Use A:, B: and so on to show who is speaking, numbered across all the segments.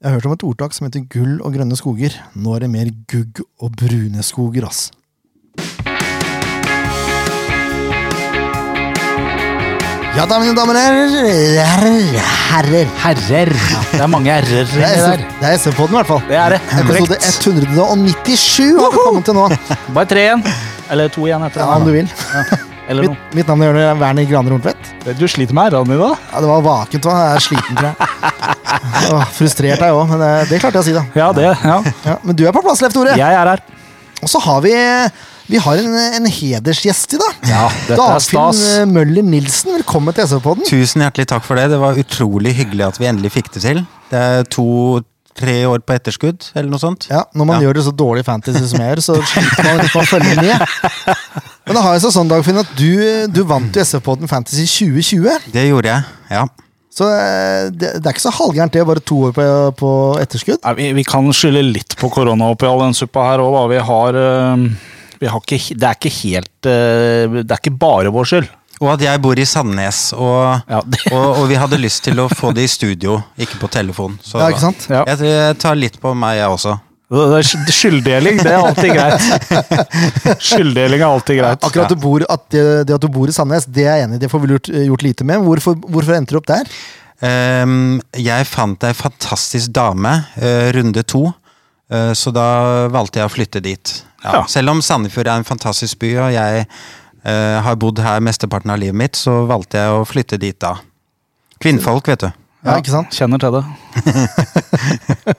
A: Jeg har hørt om et ordtak som heter 'gull og grønne skoger'. Nå er det mer gugg og brune skoger, ass. Ja da, mine damer og herrer. herrer.
B: Herrer. Det er mange r-er
A: Det er
B: der.
A: SF det er SF-podden, i hvert fall.
B: Det er det.
A: Episode
B: Korrekt.
A: 197 har vi kommet til nå.
B: Bare tre igjen. Eller to igjen etter
A: Ja, om du vil.
B: Eller
A: Mitt,
B: noe.
A: mitt navn er Jørgen Werner Graner Horntvedt.
B: Du sliter med r-ene dine, da?
A: Ja, det var vakent, hva? Jeg er sliten, tror jeg. Åh, frustrert er jeg òg, men eh, det, det klarte jeg å si, da.
B: Ja, det. Ja.
A: Ja, men du er på plass, Leif Tore.
B: Jeg er her.
A: Og så har vi vi har en, en hedersgjest i dag.
B: Ja, dette er stas.
A: Dagfinn eh, Møller Nilsen, velkommen til SV-podden.
C: Tusen hjertelig takk for det. Det var utrolig hyggelig at vi endelig fikk det til. Det er to-tre år på etterskudd, eller noe sånt.
A: Ja, når man gjør det så dårlig i fantasy som jeg gjør, så sliter man litt med å følge med. Men det har jo seg sånn, Dagfinn, at du, du vant jo SV-podden Fantasy 2020.
C: Det gjorde jeg, ja.
A: Så eh, det, det er ikke så halvgærent, det. Bare to år på, på etterskudd.
B: Nei, vi, vi kan skylde litt på korona oppi all den suppa her òg, da. Vi har, eh, vi har ikke, he- det er ikke helt eh, Det er ikke bare vår skyld.
C: Og at jeg bor i Sandnes, og,
B: Ja, det-
C: og, og vi hadde lyst til å få det i studio, ikke på telefon. Så
A: Ja, ikke sant?
B: Ja.
C: Jeg, tror jeg tar litt på meg, jeg også.
B: Det er sky- Skylddeling, det er alltid greit. Skylddeling er alltid greit.
A: Akkurat du bor, at det, det at du bor i Sandnes, det er jeg enig i. Det får vi lurt, gjort lite med. Hvorfor, hvorfor endte du opp der?
C: Ehm, jeg fant ei fantastisk dame, eh, runde to, eh, så da valgte jeg å flytte dit. Ja.
B: Ja.
C: Selv om Sandefjord er en fantastisk by, og jeg eh, har bodd her mesteparten av livet mitt, så valgte jeg å flytte dit da. Kvinnfolk, vet du.
A: Ja, ikke sant?
B: Kjenner til det.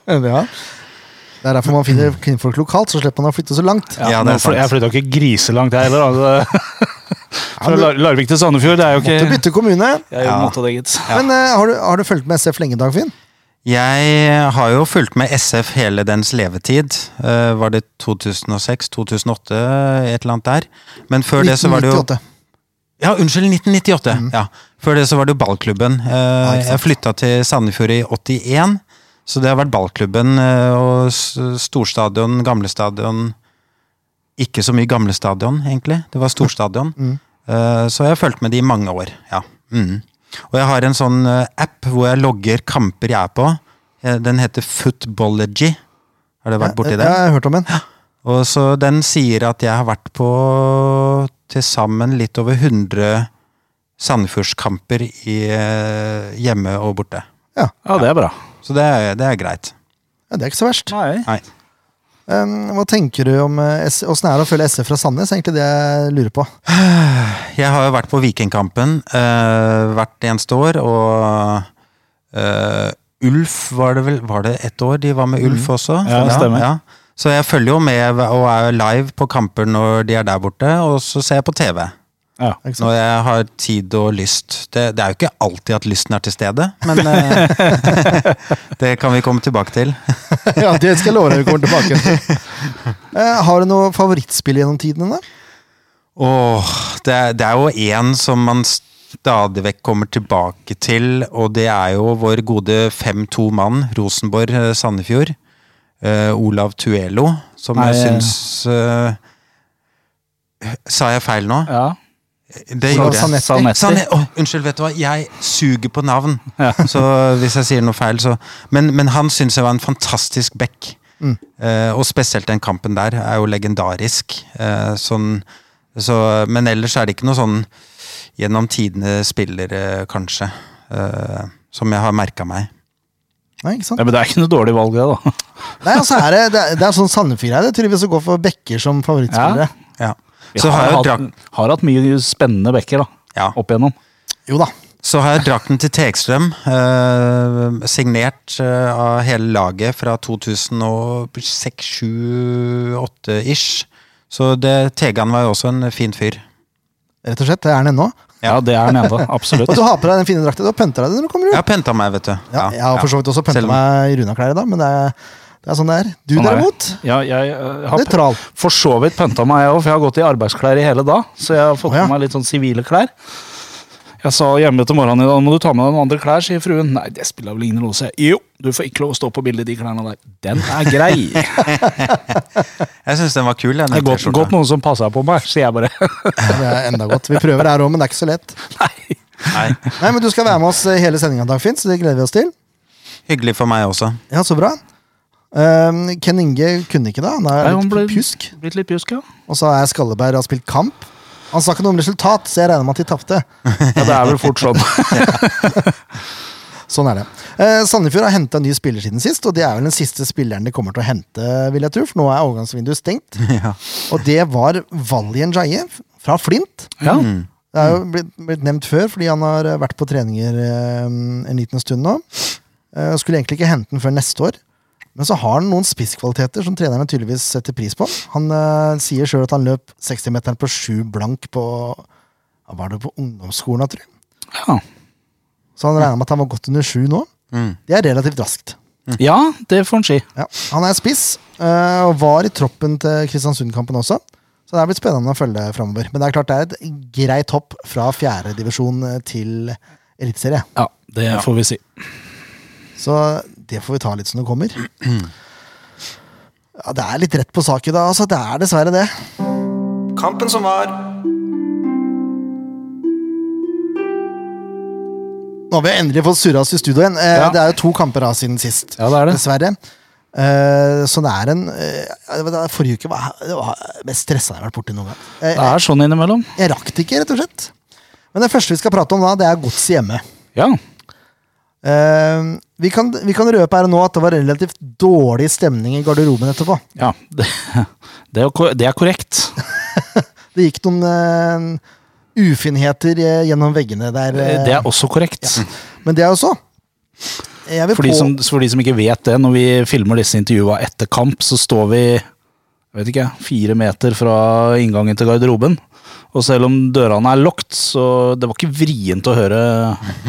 A: Ja. Det er derfor man finner kvinnfolk lokalt, så slipper man å flytte så langt.
C: Ja, det er
B: nå fly-
C: sant.
B: Jeg flytta ikke griselangt, jeg heller. da. Fra Lar- Larvik til Sandefjord, det er jo ikke
A: Måtte bytte kommune.
B: Jeg
C: Eh, Ja.
B: måtte det, gitt.
A: Men eh, har, du, har du fulgt med SF lenge, Dagfinn?
C: Jeg har jo fulgt med SF hele dens levetid. Eh, var det 2006-2008, et eller annet der? Men før det så var det jo
A: 1998.
C: Ja, unnskyld, 1998. Ja. Før det så var det jo ballklubben. Eh,
A: Mm. ikke sant.
C: jeg flytta til Sandefjord i 81, så det har vært ballklubben eh, og s- storstadion, gamlestadion Ikke så mye gamlestadion, egentlig. Det var storstadion.
A: Mm.
C: Eh, så jeg har fulgt med de i mange år. ja. Mm. Og jeg har en sånn eh, app hvor jeg logger kamper jeg er på. Eh, Den heter Footballogy. Har du vært borti det?
A: Ja, jeg har hørt om den.
C: Og så den sier at jeg har vært på til sammen litt over 100 Sandefjordskamper i, eh, hjemme og borte.
B: Ja, det er bra.
C: Så det er, det er greit.
A: Ja, det er ikke så verst.
B: Nei.
C: Nei.
A: Um, hva tenker du om eh, S- Åssen er det å følge SF fra Sandnes? Det er egentlig det jeg lurer på.
C: Jeg har jo vært på Vikingkampen eh, hvert eneste år, og eh, Ulf var det vel Var det ett år de var med Ulf også?
B: Mm. Ja, det stemmer.
C: Så jeg følger jo med og er jo live på kamper når de er der borte, og så ser jeg på TV.
B: Ja.
A: Ikke sant?
C: Når jeg har tid og lyst. Det, det er jo ikke alltid at lysten er til stede, men eh, det kan vi komme tilbake til.
A: ja, det skal jeg love deg vi kommer tilbake til. Eh, har du noe favorittspill gjennom tidene? da?
C: Åh, det, er- det er jo én som man stadig vekk kommer tilbake til, og det er jo vår gode 5-2-mann, Rosenborg eh, Sandefjord. eh, Olav Tuello, som
B: Nei,
C: jeg
B: eh.
C: syns eh, Sa jeg feil nå?
B: Ja.
C: Det
A: Olav
C: gjorde jeg.
A: Sanetti.
B: Sanetti.
C: Sånn, jeg- åh, unnskyld, vet du hva? Jeg suger på navn.
B: Ja.
C: Så hvis jeg sier noe feil, så Men, men han syns jeg var en fantastisk back. Eh, og spesielt den kampen der er jo legendarisk. Eh, sånn, så, men ellers er det ikke noe sånn gjennom tidene spillere, kanskje, eh, som jeg har merka meg.
A: Nei, ikke sant?
B: Nei, men det er ikke noe dårlig valg, det, da.
A: Nei, altså, er det, det, er, det er sånn Sandefjord-greie. Det tydeligvis å gå for bekker som favorittspillere.
C: Ja.
B: Vi
C: Så har jeg jo drak-
B: hatt, har hatt mye spennende bekker da,
C: ja.
B: opp igjennom.
A: Jo da.
C: Så har jeg drakten til Tegstrøm, eh, signert eh, av hele laget fra 2006-2008-ish. Så det, Tegan var jo også en fin fyr.
A: Rett og slett. Det er den ennå.
B: Ja, det er den ene,
A: Og
B: absolutt.
A: du har på deg den fine drakta. Du har pynta deg når du kommer ut.
C: Jeg har pynta meg, vet du.
A: Ja, jeg har for så vidt også pynta
C: Selv om-
A: meg i Runa-klær i dag, men det er, det er sånn det er. Du
B: Sånn er
A: derimot,
B: det. Ja, jeg, eh, har p-
A: nøytral.
B: for så vidt pønta meg, jeg òg, for jeg har gått i arbeidsklær i hele dag. Så jeg har fått
A: Å, ja.
B: på meg litt sånn sivile klær. Jeg sa hjemme til morgenen i dag må du ta med deg noen andre klær, sier fruen. Nei, det spiller vel ingen rolle, sier jeg. Jo, du får ikke lov å stå på bildet i de klærne der. Den er grei. Det
C: Jeg syns den var kul. Den
B: er godt,
C: T-skjorta.
B: godt noen som passer på meg, sier jeg bare.
A: Det er enda godt. Vi prøver her òg, men det er ikke så lett.
B: Nei.
C: Nei.
A: eh, Nei, men Du skal være med oss hele sendinga, Dagfinn, så det gleder vi oss til.
C: Hyggelig for meg også.
A: Ja, så bra. Ehm, Ken Inge kunne ikke det. Han er
B: Nei, han
A: litt
B: ble-
A: pjusk.
B: Blitt litt pjusk, ja.
A: Og så er Skalleberg og har spilt kamp. Han sa ikke noe om resultat, så jeg regner med at de tapte.
B: ja. Det er vel fort sånn.
A: Sånn er det. Eh, Sandefjord har henta ny spiller siden sist, og det er vel den siste spilleren de kommer til å hente, vil jeg tro, for nå er overgangsvinduet stengt.
C: Ja.
A: Og det var Valien Jaye fra Flint.
B: Ja.
A: Det er jo blitt, blitt nevnt før, fordi han har eh, vært på treninger eh, en liten stund nå. Eh, skulle egentlig ikke hente den før neste år. Men så har han noen spisskvaliteter som trenerne tydeligvis setter pris på. Han eh, sier sjøl at han løp 60-meteren på sju blank på ja, Var det på ungdomsskolen, tror jeg.
B: Ja.
A: Så han regner med at han var godt under sju nå.
C: Mm.
A: Det er relativt raskt.
B: ja, det får en si.
A: Ja. Han er spiss, eh, og var i troppen til Kristiansund-kampen også. Så det er blitt spennende å følge framover. Men det er klart det er et greit hopp fra fjerdedivisjon til eliteserie.
B: Ja, det får vi si.
A: Så det får vi ta litt som det kommer. Ja, det er litt rett på sak i dag, altså. Det er dessverre det.
C: Kampen som var
A: Nå har vi endelig fått surra oss i studio igjen. Eh,
B: Ja.
A: Det er jo to kamper av siden sist.
B: Ja, det er det.
A: Dessverre. Eh, så det er en eh, det var- Forrige uke var det var det mest stressa jeg har vært borti noen gang. Eh,
B: Det er sånn innimellom.
A: Jeg rakk det ikke, rett og slett. Men det første vi skal prate om da, det er godset hjemme.
B: Ja.
A: Eh, vi, kan, vi kan røpe her og nå at det var relativt dårlig stemning i garderoben etterpå.
B: ja. Det, det, er, ko- det er korrekt.
A: Det gikk noen eh, ufinheter eh, gjennom veggene der. eh,
B: Det er også korrekt.
A: Men det er jo så. Jeg vil
B: For de,
A: på-
B: som, for de som ikke vet det, når vi filmer disse intervjua etter kamp, så står vi jeg vet ikke, fire meter fra inngangen til garderoben. Og selv om dørene er lukket, så det var ikke vrient å høre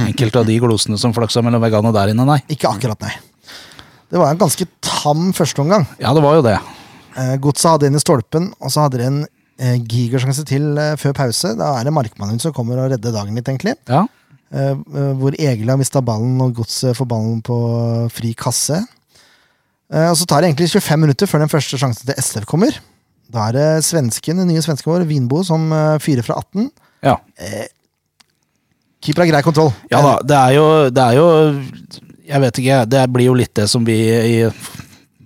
B: enkelte av de glosene som flaksa mellom veggene der inne, nei.
A: Ikke akkurat, nei. Det var en ganske tam førsteomgang.
B: Ja, det var jo det.
A: Eh, Godset hadde en i stolpen, og så hadde de en eh, gigersjanse til eh, før pause. Da er det Markmannhund som kommer og redder dagen litt, egentlig.
B: Ja.
A: Eh, eh, hvor Egil har mista ballen, og Godset får ballen på fri kasse. Eh, og Så tar det egentlig 25 minutter før den første sjansen til SF kommer. Da er det svensken, den nye svensken vår, Vinbo, som eh, fyrer fra 18.
B: ja.
A: Keeper har grei kontroll.
B: Ja da, det er jo, det er jo Jeg vet ikke, det blir jo litt det som vi i,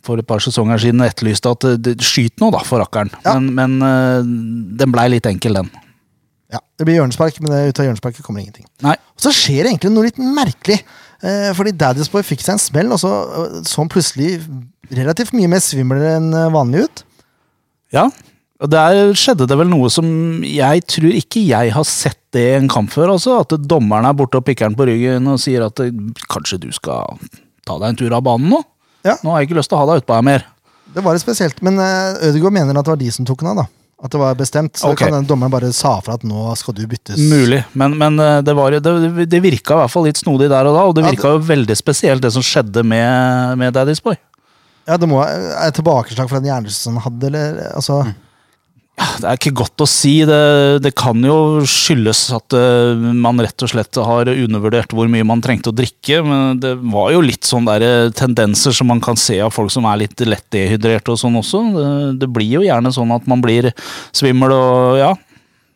B: for et par sesonger siden etterlyste, at eh, det- skyt nå, da, for rakkeren.
A: Ja.
B: Men, men eh, den blei litt enkel, den.
A: Eh, Ja, det blir hjørnespark, men eh, ut av hjørnesparket kommer ingenting.
B: Nei.
A: Og så skjer det egentlig noe litt merkelig. Eh, fordi Daddy's Boy fikk seg en smell, og så eh, så han plutselig relativt mye mer svimmel enn eh, vanlig ut.
B: Ja. Og der skjedde det vel noe som jeg tror ikke jeg har sett det i en kamp før. Altså, at dommeren er borte og pikker han på ryggen og sier at eh, kanskje du skal ta deg en tur av banen nå?
A: Ja.
B: Nå har jeg ikke lyst til å ha deg utpå her mer.
A: Det var litt spesielt, men eh, Ødegaard mener at det var de som tok den av, da. At det var bestemt. Så
B: Ok.
A: kan den dommeren bare sa fra at nå skal du byttes.
B: Mulig, men, men eh, det, var, jo- det, det virka i hvert fall litt snodig der og da, og det
A: Ja,
B: virka jo veldig spesielt det som skjedde med, med Daddy's Boy.
A: Ja, det må være tilbakeslag fra den hjernerystelsen han hadde, eller eh, altså
B: Mm. Det er ikke godt å si. Det, det kan jo skyldes at eh, man rett og slett har undervurdert hvor mye man trengte å drikke, men det var jo litt sånne der eh, tendenser som man kan se av folk som er litt lett dehydrerte og sånn også. Det, det blir jo gjerne sånn at man blir svimmel og ja.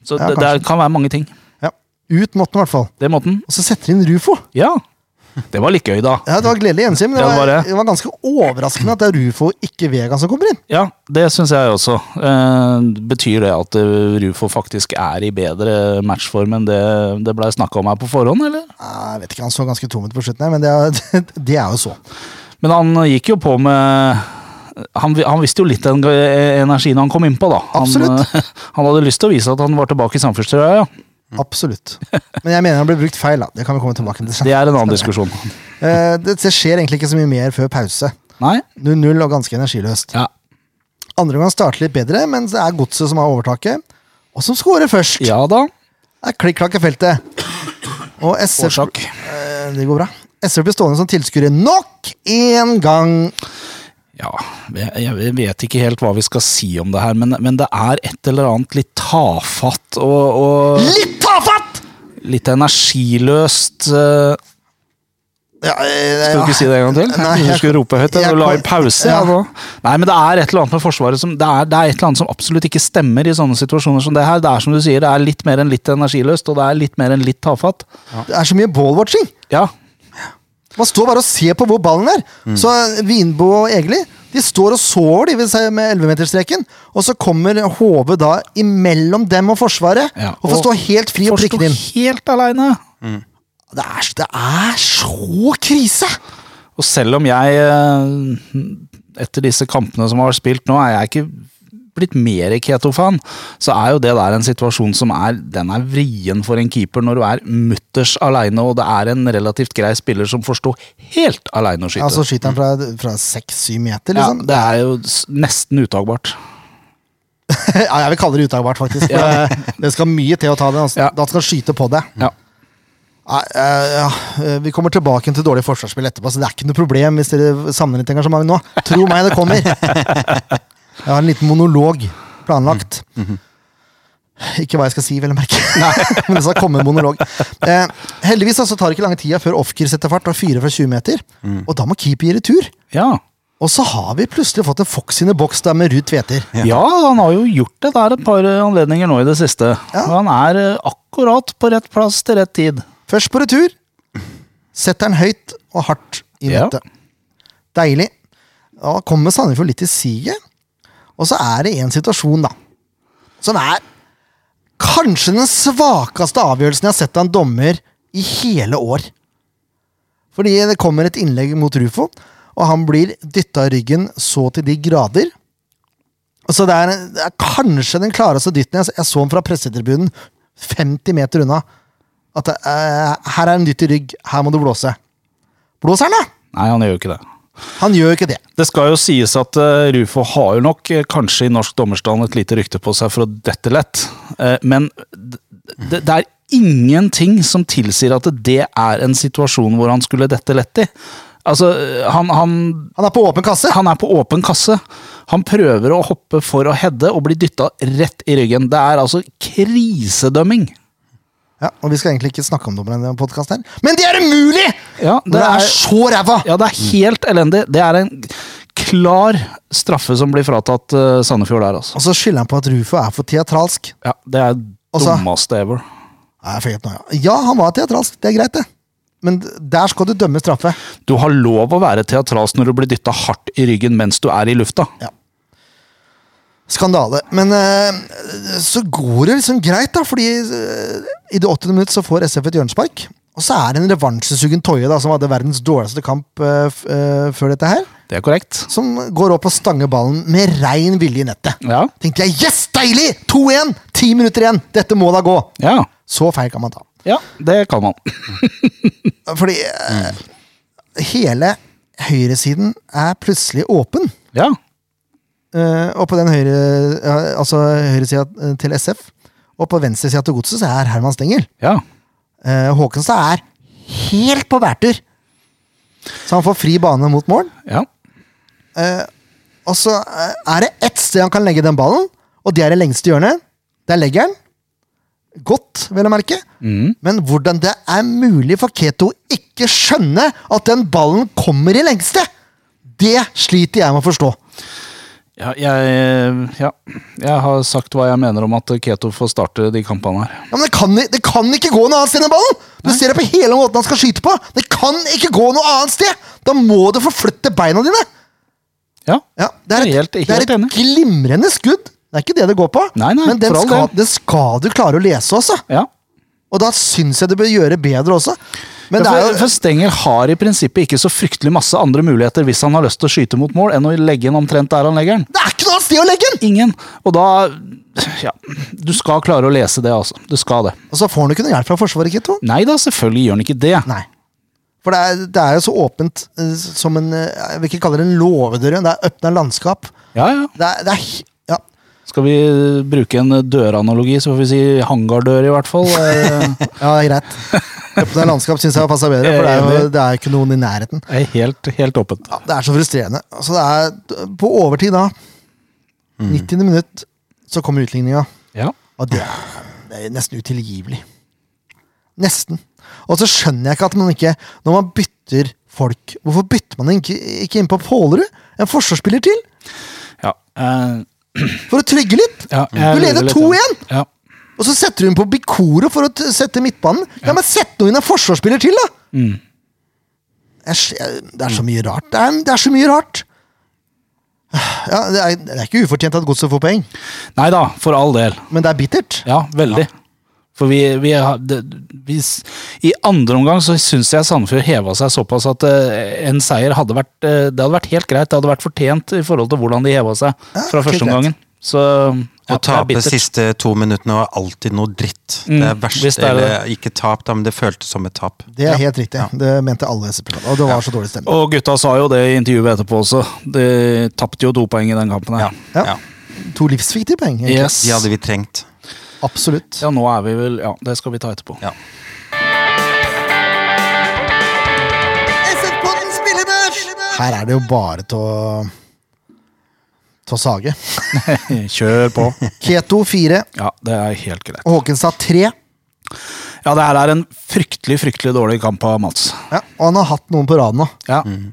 B: Så
A: Ja,
B: det, det er- kan være mange ting.
A: Ja. Ut måtte den i hvert fall.
B: Det måten.
A: Og så setter de inn Rufo.
B: Ja. Det var litt gøy, da.
A: Ja, Det var gledelig gjensyn, men det
B: Det var
A: var,
B: det.
A: det var ganske overraskende at det er Rufo, ikke Vega, som kommer inn.
B: Ja, det syns jeg også. Eh, betyr det at eh, Rufo faktisk er i bedre matchform enn det det blei snakka om her på forhånd, eller?
A: Ah, Jeg vet ikke, Han så ganske tom ut på slutten, her, men det er, det er jo så.
B: Men han gikk jo på med han, vi- han visste jo litt den eh, energien han kom innpå, da. Han,
A: Absolutt.
B: eh, han hadde lyst til å vise at han var tilbake i samfunnstrøya, ja.
A: Absolutt. Men jeg mener han ble brukt feil. da. Det kan vi komme tilbake til.
B: Det er en annen diskusjon.
A: Eh, det, det skjer egentlig ikke så mye mer før pause.
B: Nei?
A: 0-0 og ganske energiløst.
B: Ja.
A: Andre gang starter litt bedre, men det er godset som har overtaket. Og som scorer først!
B: Ja da.
A: Det er klikk-klakk i feltet. Og SF
B: Årsak.
A: eh, Det går bra. SV blir stående som tilskuere nok én gang.
B: Ja, jeg- jeg vet ikke helt hva vi skal si om det her, men, men det er et eller annet litt tafatt og, og
A: Litt tafatt!
B: litt energiløst. eh,
A: Ja, eh,
B: Skal du ikke si det en gang til?
A: Nei,
B: du
A: jeg-
B: skulle rope høyt.
A: jeg
B: Jeg, la i
A: kom-
B: pause.
A: Ja.
B: jeg, nå. Nei, men det er et eller annet med Forsvaret som det er, det er et eller annet som absolutt ikke stemmer i sånne situasjoner som det her. Det er som du sier, det er litt mer enn litt energiløst, og det er litt mer enn litt tafatt.
A: Det er så mye ball-watching!
B: Ja.
A: Man står bare og ser på hvor ballen er.
B: Mm.
A: Så eh, Vinbo og Egeli de står og sår de vil si, med 11-meterstreken. Og så kommer HV da imellom dem og Forsvaret
B: Ja,
A: og får
B: og
A: stå helt fri og
B: Forsto
A: prikke den inn.
B: helt aleine.
A: Det er, det er så krise!
B: Og selv om jeg, eh, etter disse kampene som har vært spilt nå, er jeg ikke blitt mer keto-fan, så er jo det der en situasjon som er den er vrien for en keeper når du er mutters aleine, og det er en relativt grei spiller som får stå helt aleine og skyte.
A: Altså skyter han fra, fra 6-7 meter,
B: ja,
A: liksom.
B: det er jo s- nesten utagbart.
A: Ja, jeg vil kalle det utagbart, faktisk. for det- Det skal mye til å ta det. Altså.
B: Ja.
A: Da skal han skyte på det.
B: Ja.
A: Nei, eh, ja. Vi kommer tilbake til dårlig forsvarsspill etterpå, så det er ikke noe problem hvis dere savner litt engasjement nå. Tro meg, det kommer. Jeg har en liten monolog planlagt. Ikke hva jeg skal si, vel å merke. Men det skal komme en monolog. Eh, heldigvis altså, tar det ikke lange tida før Ofker setter fart og fyrer fra 20 meter. Og da må keeper gi retur.
B: Ja.
A: Og så har vi plutselig fått en Fox in the box der med Ruud Tveter.
B: Ja. han har jo gjort det der et par eh, anledninger nå i det siste.
A: Ja.
B: Og Han er eh, akkurat på rett plass til rett tid.
A: Først på retur setter han høyt og hardt i
B: Ja.
A: nettet. Deilig. Da kommer Sandefjord litt i siget, og så er det en situasjon, da, som er kanskje den svakeste avgjørelsen jeg har sett av en dommer i hele år. Fordi det kommer et innlegg mot Rufo, og han blir dytta i ryggen så til de grader. Og Så det er, det er kanskje den klareste dytten. Jeg, jeg så den fra pressetribunen, 50 meter unna. At det, eh, her er en dytt i rygg, her må du blåse. Blåser han, da!
B: Nei, han gjør jo ikke det.
A: Han gjør jo ikke det.
B: Det skal jo sies at eh, Rufo har jo nok eh, kanskje i norsk dommerstand et lite rykte på seg for å dette lett, Eh, men d- d- det er ingenting som tilsier at det er en situasjon hvor han skulle dette lett i. Altså, eh, han, han,
A: Han er på åpen kasse.
B: han er på åpen kasse. Han prøver å hoppe for å heade og blir dytta rett i ryggen. Det er altså krisedømming.
A: Ja, og vi skal egentlig ikke snakke om dommerne i denne podkasten, men det er umulig!
B: Ja,
A: Når det er så ræva!
B: Ja, det er helt elendig. Det er en klar straffe som blir fratatt eh, Sandefjord der, altså.
A: Og så skylder han på at Rufo er for teatralsk.
B: Ja, det er
A: Altså-
B: dummeste ever.
A: Nei, jeg får hjelp nå, ja. ja, han var teatralsk, det er greit, det. Men d- der skal du dømme straffe.
B: Du har lov å være teatralsk når du blir dytta hardt i ryggen mens du er i lufta.
A: Skandale. Men eh, så går det liksom greit, da, fordi eh, i det 80. minutt så får SF et hjørnespark. Og så er det en revansjesugen Toje, da, som hadde verdens dårligste kamp eh, f eh, før dette her,
B: Det er korrekt.
A: som går opp og stanger ballen med rein vilje i nettet.
B: Ja.
A: Tenkte jeg, yes, deilig! 2-1! Ti minutter igjen! Dette må da gå!
B: Ja.
A: Så feil kan man ta.
B: ja det kan man.
A: Fordi eh, hele høyresiden er plutselig åpen.
B: Ja.
A: Eh, og på den høyre eh, Altså høyresida eh, til SF, og på venstresida til godset, så er Herman Stengel.
B: ja.
A: Eh, Håkenstad er helt på bærtur! Så han får fri bane mot mål.
B: Ja.
A: Og så eh, er det ett sted han kan legge den ballen, og det er det lengste hjørnet. Der legger han. Godt, vel å merke.
B: Mm.
A: Men hvordan det er mulig for Keto ikke skjønne at den ballen kommer i lengste, det sliter jeg med å forstå.
B: Ja, jeg, ja. jeg har sagt hva jeg mener om at Keto får starte de kampene her.
A: Ja, men det kan, det kan ikke gå noe annet sted enn ballen! Du ser det på hele måten han skal skyte på! Det kan ikke gå noe annet sted! Da må du forflytte beina dine!
B: Ja.
A: Ja, det er et,
B: Helt-
A: det er
B: helt enig.
A: et glimrende skudd. Det er ikke det det går på,
B: Nei, nei,
A: men den
B: for all
A: skal,
B: del.
A: det skal du klare å lese også.
B: ja.
A: Og da syns jeg du bør gjøre bedre også. Men det er
B: Ja, for,
A: jo
B: for Stengel har i prinsippet ikke så fryktelig masse andre muligheter hvis han har lyst til å skyte mot mål, enn å legge den omtrent der han legger den.
A: Det er ikke noe annet sted å legge den!
B: Ingen. Og da Ja, du skal klare å lese det, altså. Du skal det.
A: Og så får han jo ikke noe hjelp fra Forsvaret, Kitto.
B: Nei da, selvfølgelig gjør han ikke det.
A: Nei. For det er, det er jo så åpent eh, som en eh, Jeg vil ikke kalle det en låvedør, det er åpna landskap.
B: Ja, ja.
A: Det er, det er he- ja.
B: Skal vi bruke en døranalogi, så får vi si hangardør i hvert fall. Eh,
A: Ja, greit. Åpne landskap syns jeg passer bedre, for det er jo det er jo ikke noen i nærheten.
B: Det er helt, helt åpent.
A: Ja, det er så frustrerende. Altså, det er på overtid da.
B: Mm.
A: 90. minutt, så kommer utligninga.
B: Ja.
A: Og det er, det er nesten utilgivelig. Nesten. Og så skjønner jeg ikke at man ikke Når man bytter folk Hvorfor bytter man ikke, ikke inn på Pålerud? En forsvarsspiller til?
B: Ja. eh,
A: For å trygge litt?
B: ja, jeg
A: Du leder
B: lurer litt.
A: 2-1!
B: Ja.
A: Og så setter hun på
B: Mm.
A: Bikoro for å t sette midtbanen. Ja, men sett nå inn en forsvarsspiller til, da! jeg, s- jeg, det er så mye rart. Det er, det er så mye rart! Ja, det, er, det er ikke ufortjent at godset får poeng,
B: Nei da, for all del.
A: men det er bittert.
B: Ja, veldig. For vi, vi, har- det, vi s- I andre omgang så syns jeg Sandefjord heva seg såpass at eh, en seier hadde vært eh, Det hadde vært helt greit. Det hadde vært fortjent i forhold til hvordan de heva seg fra
A: helt
B: første omgangen. Så ja,
C: Å tape
B: bittert.
C: siste to minuttene var alltid noe dritt.
B: Mm,
C: det er verst.
B: visst er det
C: Eller ikke tap, da, men det føltes som et tap.
A: Det er helt riktig. Det mente alle SPL, og det var så dårlig stemning.
B: Og gutta sa jo det i intervjuet etterpå også. De tapte jo to poeng i den kampen. her.
A: Ja.
C: Ja.
A: To livsviktige poeng. egentlig.
B: Yes.
C: De hadde vi trengt.
A: Absolutt.
B: Ja, nå er vi vel Ja, det skal vi ta etterpå.
C: Ja.
A: Her er det jo bare til å til å sage.
B: Kjør på.
A: Keto 4,
B: Ja, det er helt greit.
A: Håkenstad 3.
B: Ja, det her er en fryktelig, fryktelig dårlig kamp av Mats.
A: Ja, og han har hatt noen på rad nå.
B: Ja.
C: Mm.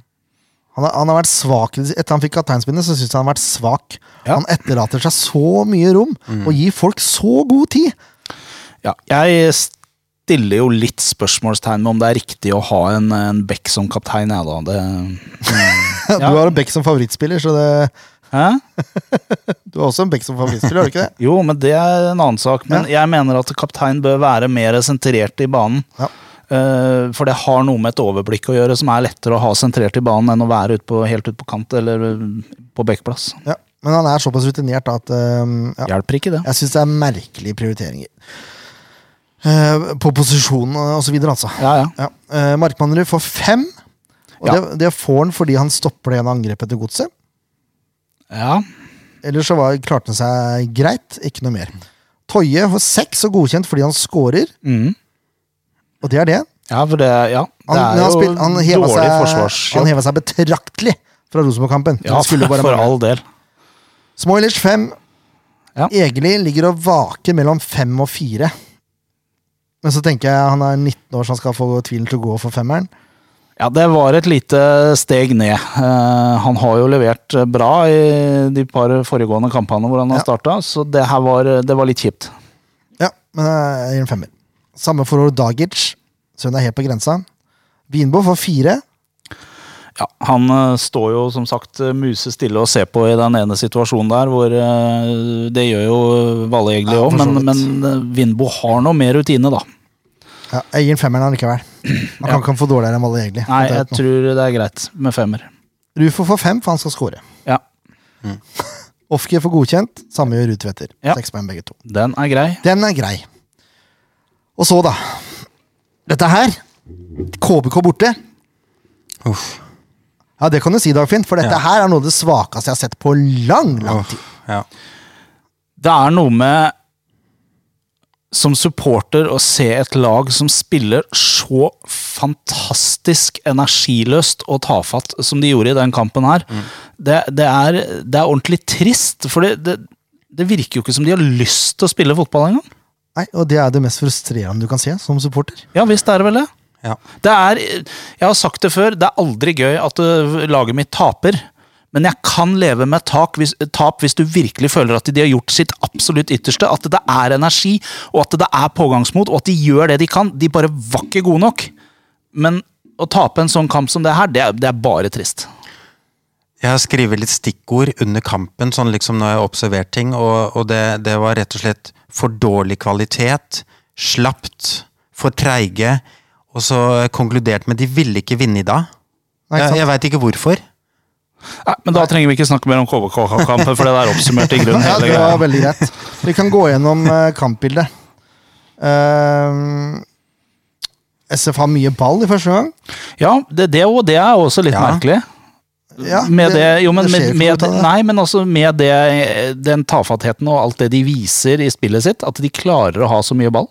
A: Han har, han har vært svak, Etter han fikk kapteinspinnet, så syns jeg han har vært svak.
B: Ja. Mm.
A: Han etterlater seg så mye rom, og gir folk så god tid.
B: Ja, jeg stiller jo litt spørsmålstegn med om det er riktig å ha en, en Beck som kaptein, jeg da. Det, Ja.
A: Du har en Beck som favorittspiller, så det,
B: hæ?
A: du har også en Beck som favorittspiller, har du ikke det?
B: Jo, men det er en annen sak. Men jeg mener at kaptein bør være mer sentrert i banen.
A: Ja.
B: Eh, for det har noe med et overblikk å gjøre, som er lettere å ha sentrert i banen enn å være ut på, helt ut på kant eller eh, på backplass.
A: Ja. Men han er såpass rutinert da, at ehm, ja.
B: Hjelper ikke det.
A: Jeg syns det er merkelige prioriteringer. Eh, på posisjon og så videre, altså.
B: Ja, ja.
A: Ja. Eh, Markmannerud får fem. Og
B: Ja.
A: det, det får han fordi han stopper det ene angrepet til godset.
B: ja.
A: Ellers så var, klarte han seg greit. Ikke noe mer. Toje får seks og godkjent fordi han scorer,
B: Mm.
A: og det er det.
B: Ja, for det, ja, det
A: Han,
B: er
A: men han
B: jo
A: spil- han heva
B: dårlig
A: seg, han
B: forsvarsjobb.
A: heva seg betraktelig fra Rosenborg-kampen.
B: Ja,
A: Det skulle bare
B: for
A: mangle.
B: all del.
A: Smoilers fem.
B: Ja.
A: Egeli ligger og vaker mellom fem og fire. Men så tenker jeg han er 19 år, så han skal få tvilen til å gå for femmeren.
B: Ja, det var et lite steg ned. Eh, han har jo levert eh, bra i de par foregående kampene hvor han har
A: Ja.
B: starta, så det her var, det var litt kjipt.
A: Ja, men jeg gir en femmer. Samme for Dagic. Så hun er helt på grensa. Vinbo får fire.
B: Ja, han eh, står jo som sagt eh, musestille og ser på i den ene situasjonen der, hvor eh, Det gjør jo Valle egentlig
A: Ja,
B: òg,
A: for så
B: men, men
A: vidt.
B: eh, Vindbo har noe mer rutine, da.
A: Ja, jeg gir en femmer allikevel. Han kan ikke få dårligere enn alle, egentlig.
B: Nei,
A: Det er
B: jeg
A: ikke noe.
B: tror det er greit med femmer.
A: Rufo får fem, for han skal score.
B: Ja,
A: Ofke får godkjent. Samme gjør Rudtveter.
B: Ja.
A: Seks poeng begge to.
B: den er grei.
A: Den er grei. Og så, da. Dette her. KBK borte.
C: Uff.
A: Ja, det kan du si, Dagfinn, for dette
C: Ja.
A: her er noe av det svakeste jeg har sett på lang, lang
C: Uff.
A: tid.
C: Ja.
B: Det er noe med som supporter å se et lag som spiller så fantastisk energiløst og tafatt som de gjorde i den kampen her. Det, det, er, det er ordentlig trist, for det, det, det virker jo ikke som de har lyst til å spille fotball engang.
A: Nei, og det er det mest frustrerende du kan se som supporter.
B: Ja visst er det vel det.
C: Ja.
B: Det er, jeg har sagt det før, det er aldri gøy at ø, laget mitt taper. Men jeg kan leve med tak hvis, tap hvis du virkelig føler at de har gjort sitt absolutt ytterste. At det er energi, og at det er pågangsmot, og at de gjør det de kan. De bare var ikke gode nok. Men å tape en sånn kamp som det her, det er, det er bare trist.
C: Jeg har skrevet litt stikkord under kampen, sånn liksom når jeg har observert ting, og, og det, det var rett og slett for dårlig kvalitet, slapt, for treige, og så konkludert med de ville ikke vinne i dag.
A: Nei, ikke
C: Jeg,
A: sant?
C: jeg veit ikke hvorfor.
B: Nei, men da trenger vi ikke snakke mer om KVK-kampen, for det der er oppsummert i grunnen
A: Ja,
B: hele
A: det var
B: greia.
A: veldig greit. Vi kan gå gjennom eh, kampbildet. Ehm, SF har mye ball i første gang.
B: Ja, det, det, og det er også litt
C: Ja.
B: merkelig.
A: Ja,
B: med det, jo, men,
A: det skjer jo ikke
B: med, med,
A: noe ut av det.
B: nei, men altså med det, den tafattheten og alt det de viser i spillet sitt, at de klarer å ha så mye ball.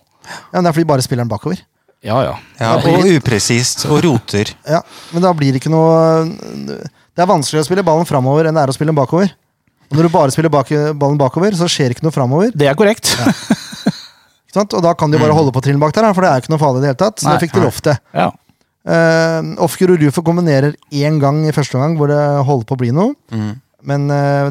A: Ja, men det er fordi de bare spiller den bakover.
B: Ja, ja.
C: Ja,
B: Det blir
C: og
B: litt-
C: upresist, og roter.
A: Ja, men da blir det ikke noe Det er vanskeligere å spille ballen framover enn det er å spille den bakover. Og når du bare spiller bak, ballen bakover, så skjer det ikke noe framover.
B: det er korrekt. Ja.
A: Ikke sant? Og da kan de jo bare holde på trillen bak der, da, for det er jo ikke noe farlig i det hele tatt. Så
B: Mm. Nei,
A: det fikk de lov til. Uh, Ofker og Rufo kombinerer én gang i første omgang, hvor det holder på å bli noe.
C: Mm.
A: Men eh,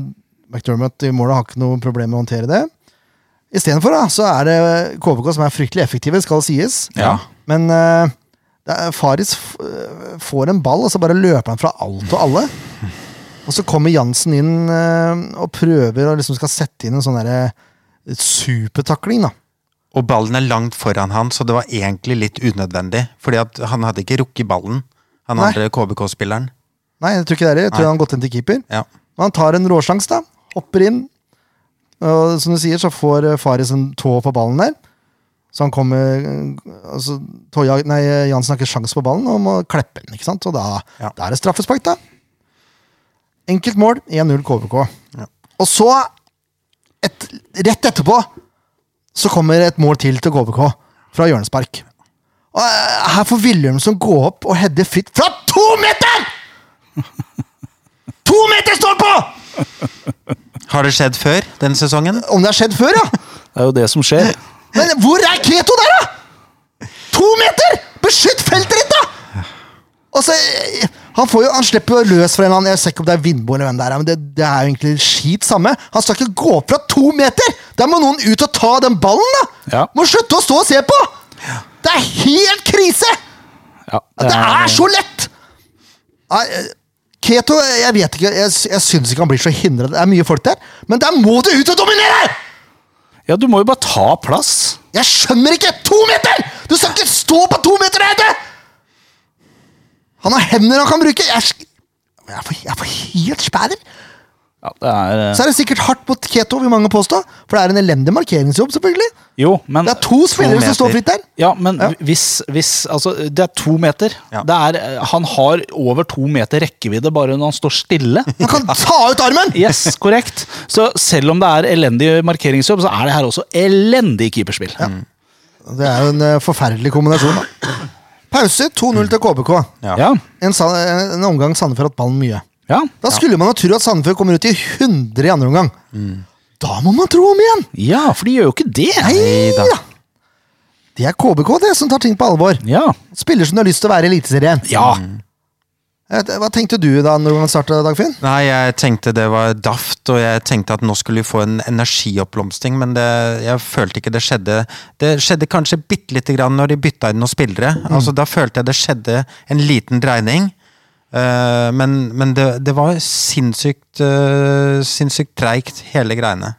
A: McDermott i målet har ikke noe problem med å håndtere det. eh, Istedenfor så er det KVK som er fryktelig effektive, skal sies.
C: Ja.
A: Men eh, Det er, Faris f- øh, får en ball, og så bare løper han fra alt og alle. Og så kommer Jansen inn øh, og prøver og liksom skal sette inn en sånn derre supertakling, da.
C: Og ballen er langt foran han, så det var egentlig litt unødvendig. Fordi at han hadde ikke rukket ballen, han
A: Nei.
C: andre KBK-spilleren.
A: Nei, jeg tror ikke det er det. Jeg tror han har gått inn til keeper.
C: Ja.
A: Men han tar en råsjans, da. Hopper inn. Og som du sier, så får eh, Faris en tå på ballen der. Så han kommer eh, altså, Toja, Nei, Jansen har ikke sjans på ballen og må kleppe den. ikke sant? Og da,
C: Ja.
A: da er det straffespark, da. Enkelt mål. 1-0 KBK.
C: Ja.
A: Og så, et, rett etterpå, så kommer et mål til til KBK. Fra hjørnespark. Og eh, her får Wilhelmsen gå opp og heade fritt fra to meter! To meter står på!
C: Har det skjedd før denne sesongen?
A: Om det har skjedd før, ja!
B: Det er jo det som skjer.
A: Men hvor er Keto der, da?! To meter! Beskytt feltet ditt, da! Og så, eh, han, får jo, han slipper jo løs fra en eller annen Jeg ser ikke om det er Vindbo eller hvem det er, men det, det er jo egentlig skit samme. Han skal ikke gå opp fra to meter! Der må noen ut og ta den ballen, da!
B: Ja.
A: Må slutte å stå og se på! Det er helt krise!
B: Ja,
A: Det er så lett! Nei, eh, Keto, jeg vet ikke, jeg, jeg syns ikke han blir så hindret. Det er mye folk der, men der må du ut og dominere!
B: ja, du må jo bare ta plass.
A: Jeg skjønner ikke! To meter! Du skal ikke stå på to meter der ute! Han har hender han kan bruke. Jeg, sk- jeg, får, jeg får helt spæder.
B: Ja, det er, eh,
A: Så er det sikkert hardt mot Keto, vil mange påstå. For det er en elendig markeringsjobb, selvfølgelig.
B: jo, men
A: Det er to spillere som
C: meter.
A: står fritt der.
B: Ja, men hvis, hvis Altså, det er to meter.
C: Ja.
B: Det er, eh, han har over to meter rekkevidde bare når han står stille.
A: Han kan ta ut armen!
B: Yes, korrekt. Så selv om det er elendig markeringsjobb, så er det her også elendig keeperspill.
A: Mm. Det er jo en eh, forferdelig kombinasjon. da. Pause 2-0 til KBK.
B: Ja.
A: En, sa- en omgang Sandefjord hatt ballen mye.
B: ja.
A: Da skulle man jo tro at Sandefjord kommer ut i 100 i andre omgang. Da må man tro om igjen!
B: Ja, for de gjør jo ikke det.
C: Neida.
A: Ja. Det er KBK det som tar ting på alvor.
B: Ja.
A: Spiller som du har lyst til å være i Eliteserien.
B: ja.
A: Eh, Hva tenkte du da når man starta, Dagfinn?
C: Nei, jeg tenkte det var daft, og jeg tenkte at nå skulle vi få en energioppblomstring, men det, jeg følte ikke det skjedde. Det skjedde kanskje bitte lite grann når de bytta inn noen spillere.
A: Mm.
C: Altså, da følte jeg det skjedde en liten dreining. Eh, men men det, det var sinnssykt, eh, sinnssykt treigt, hele greiene.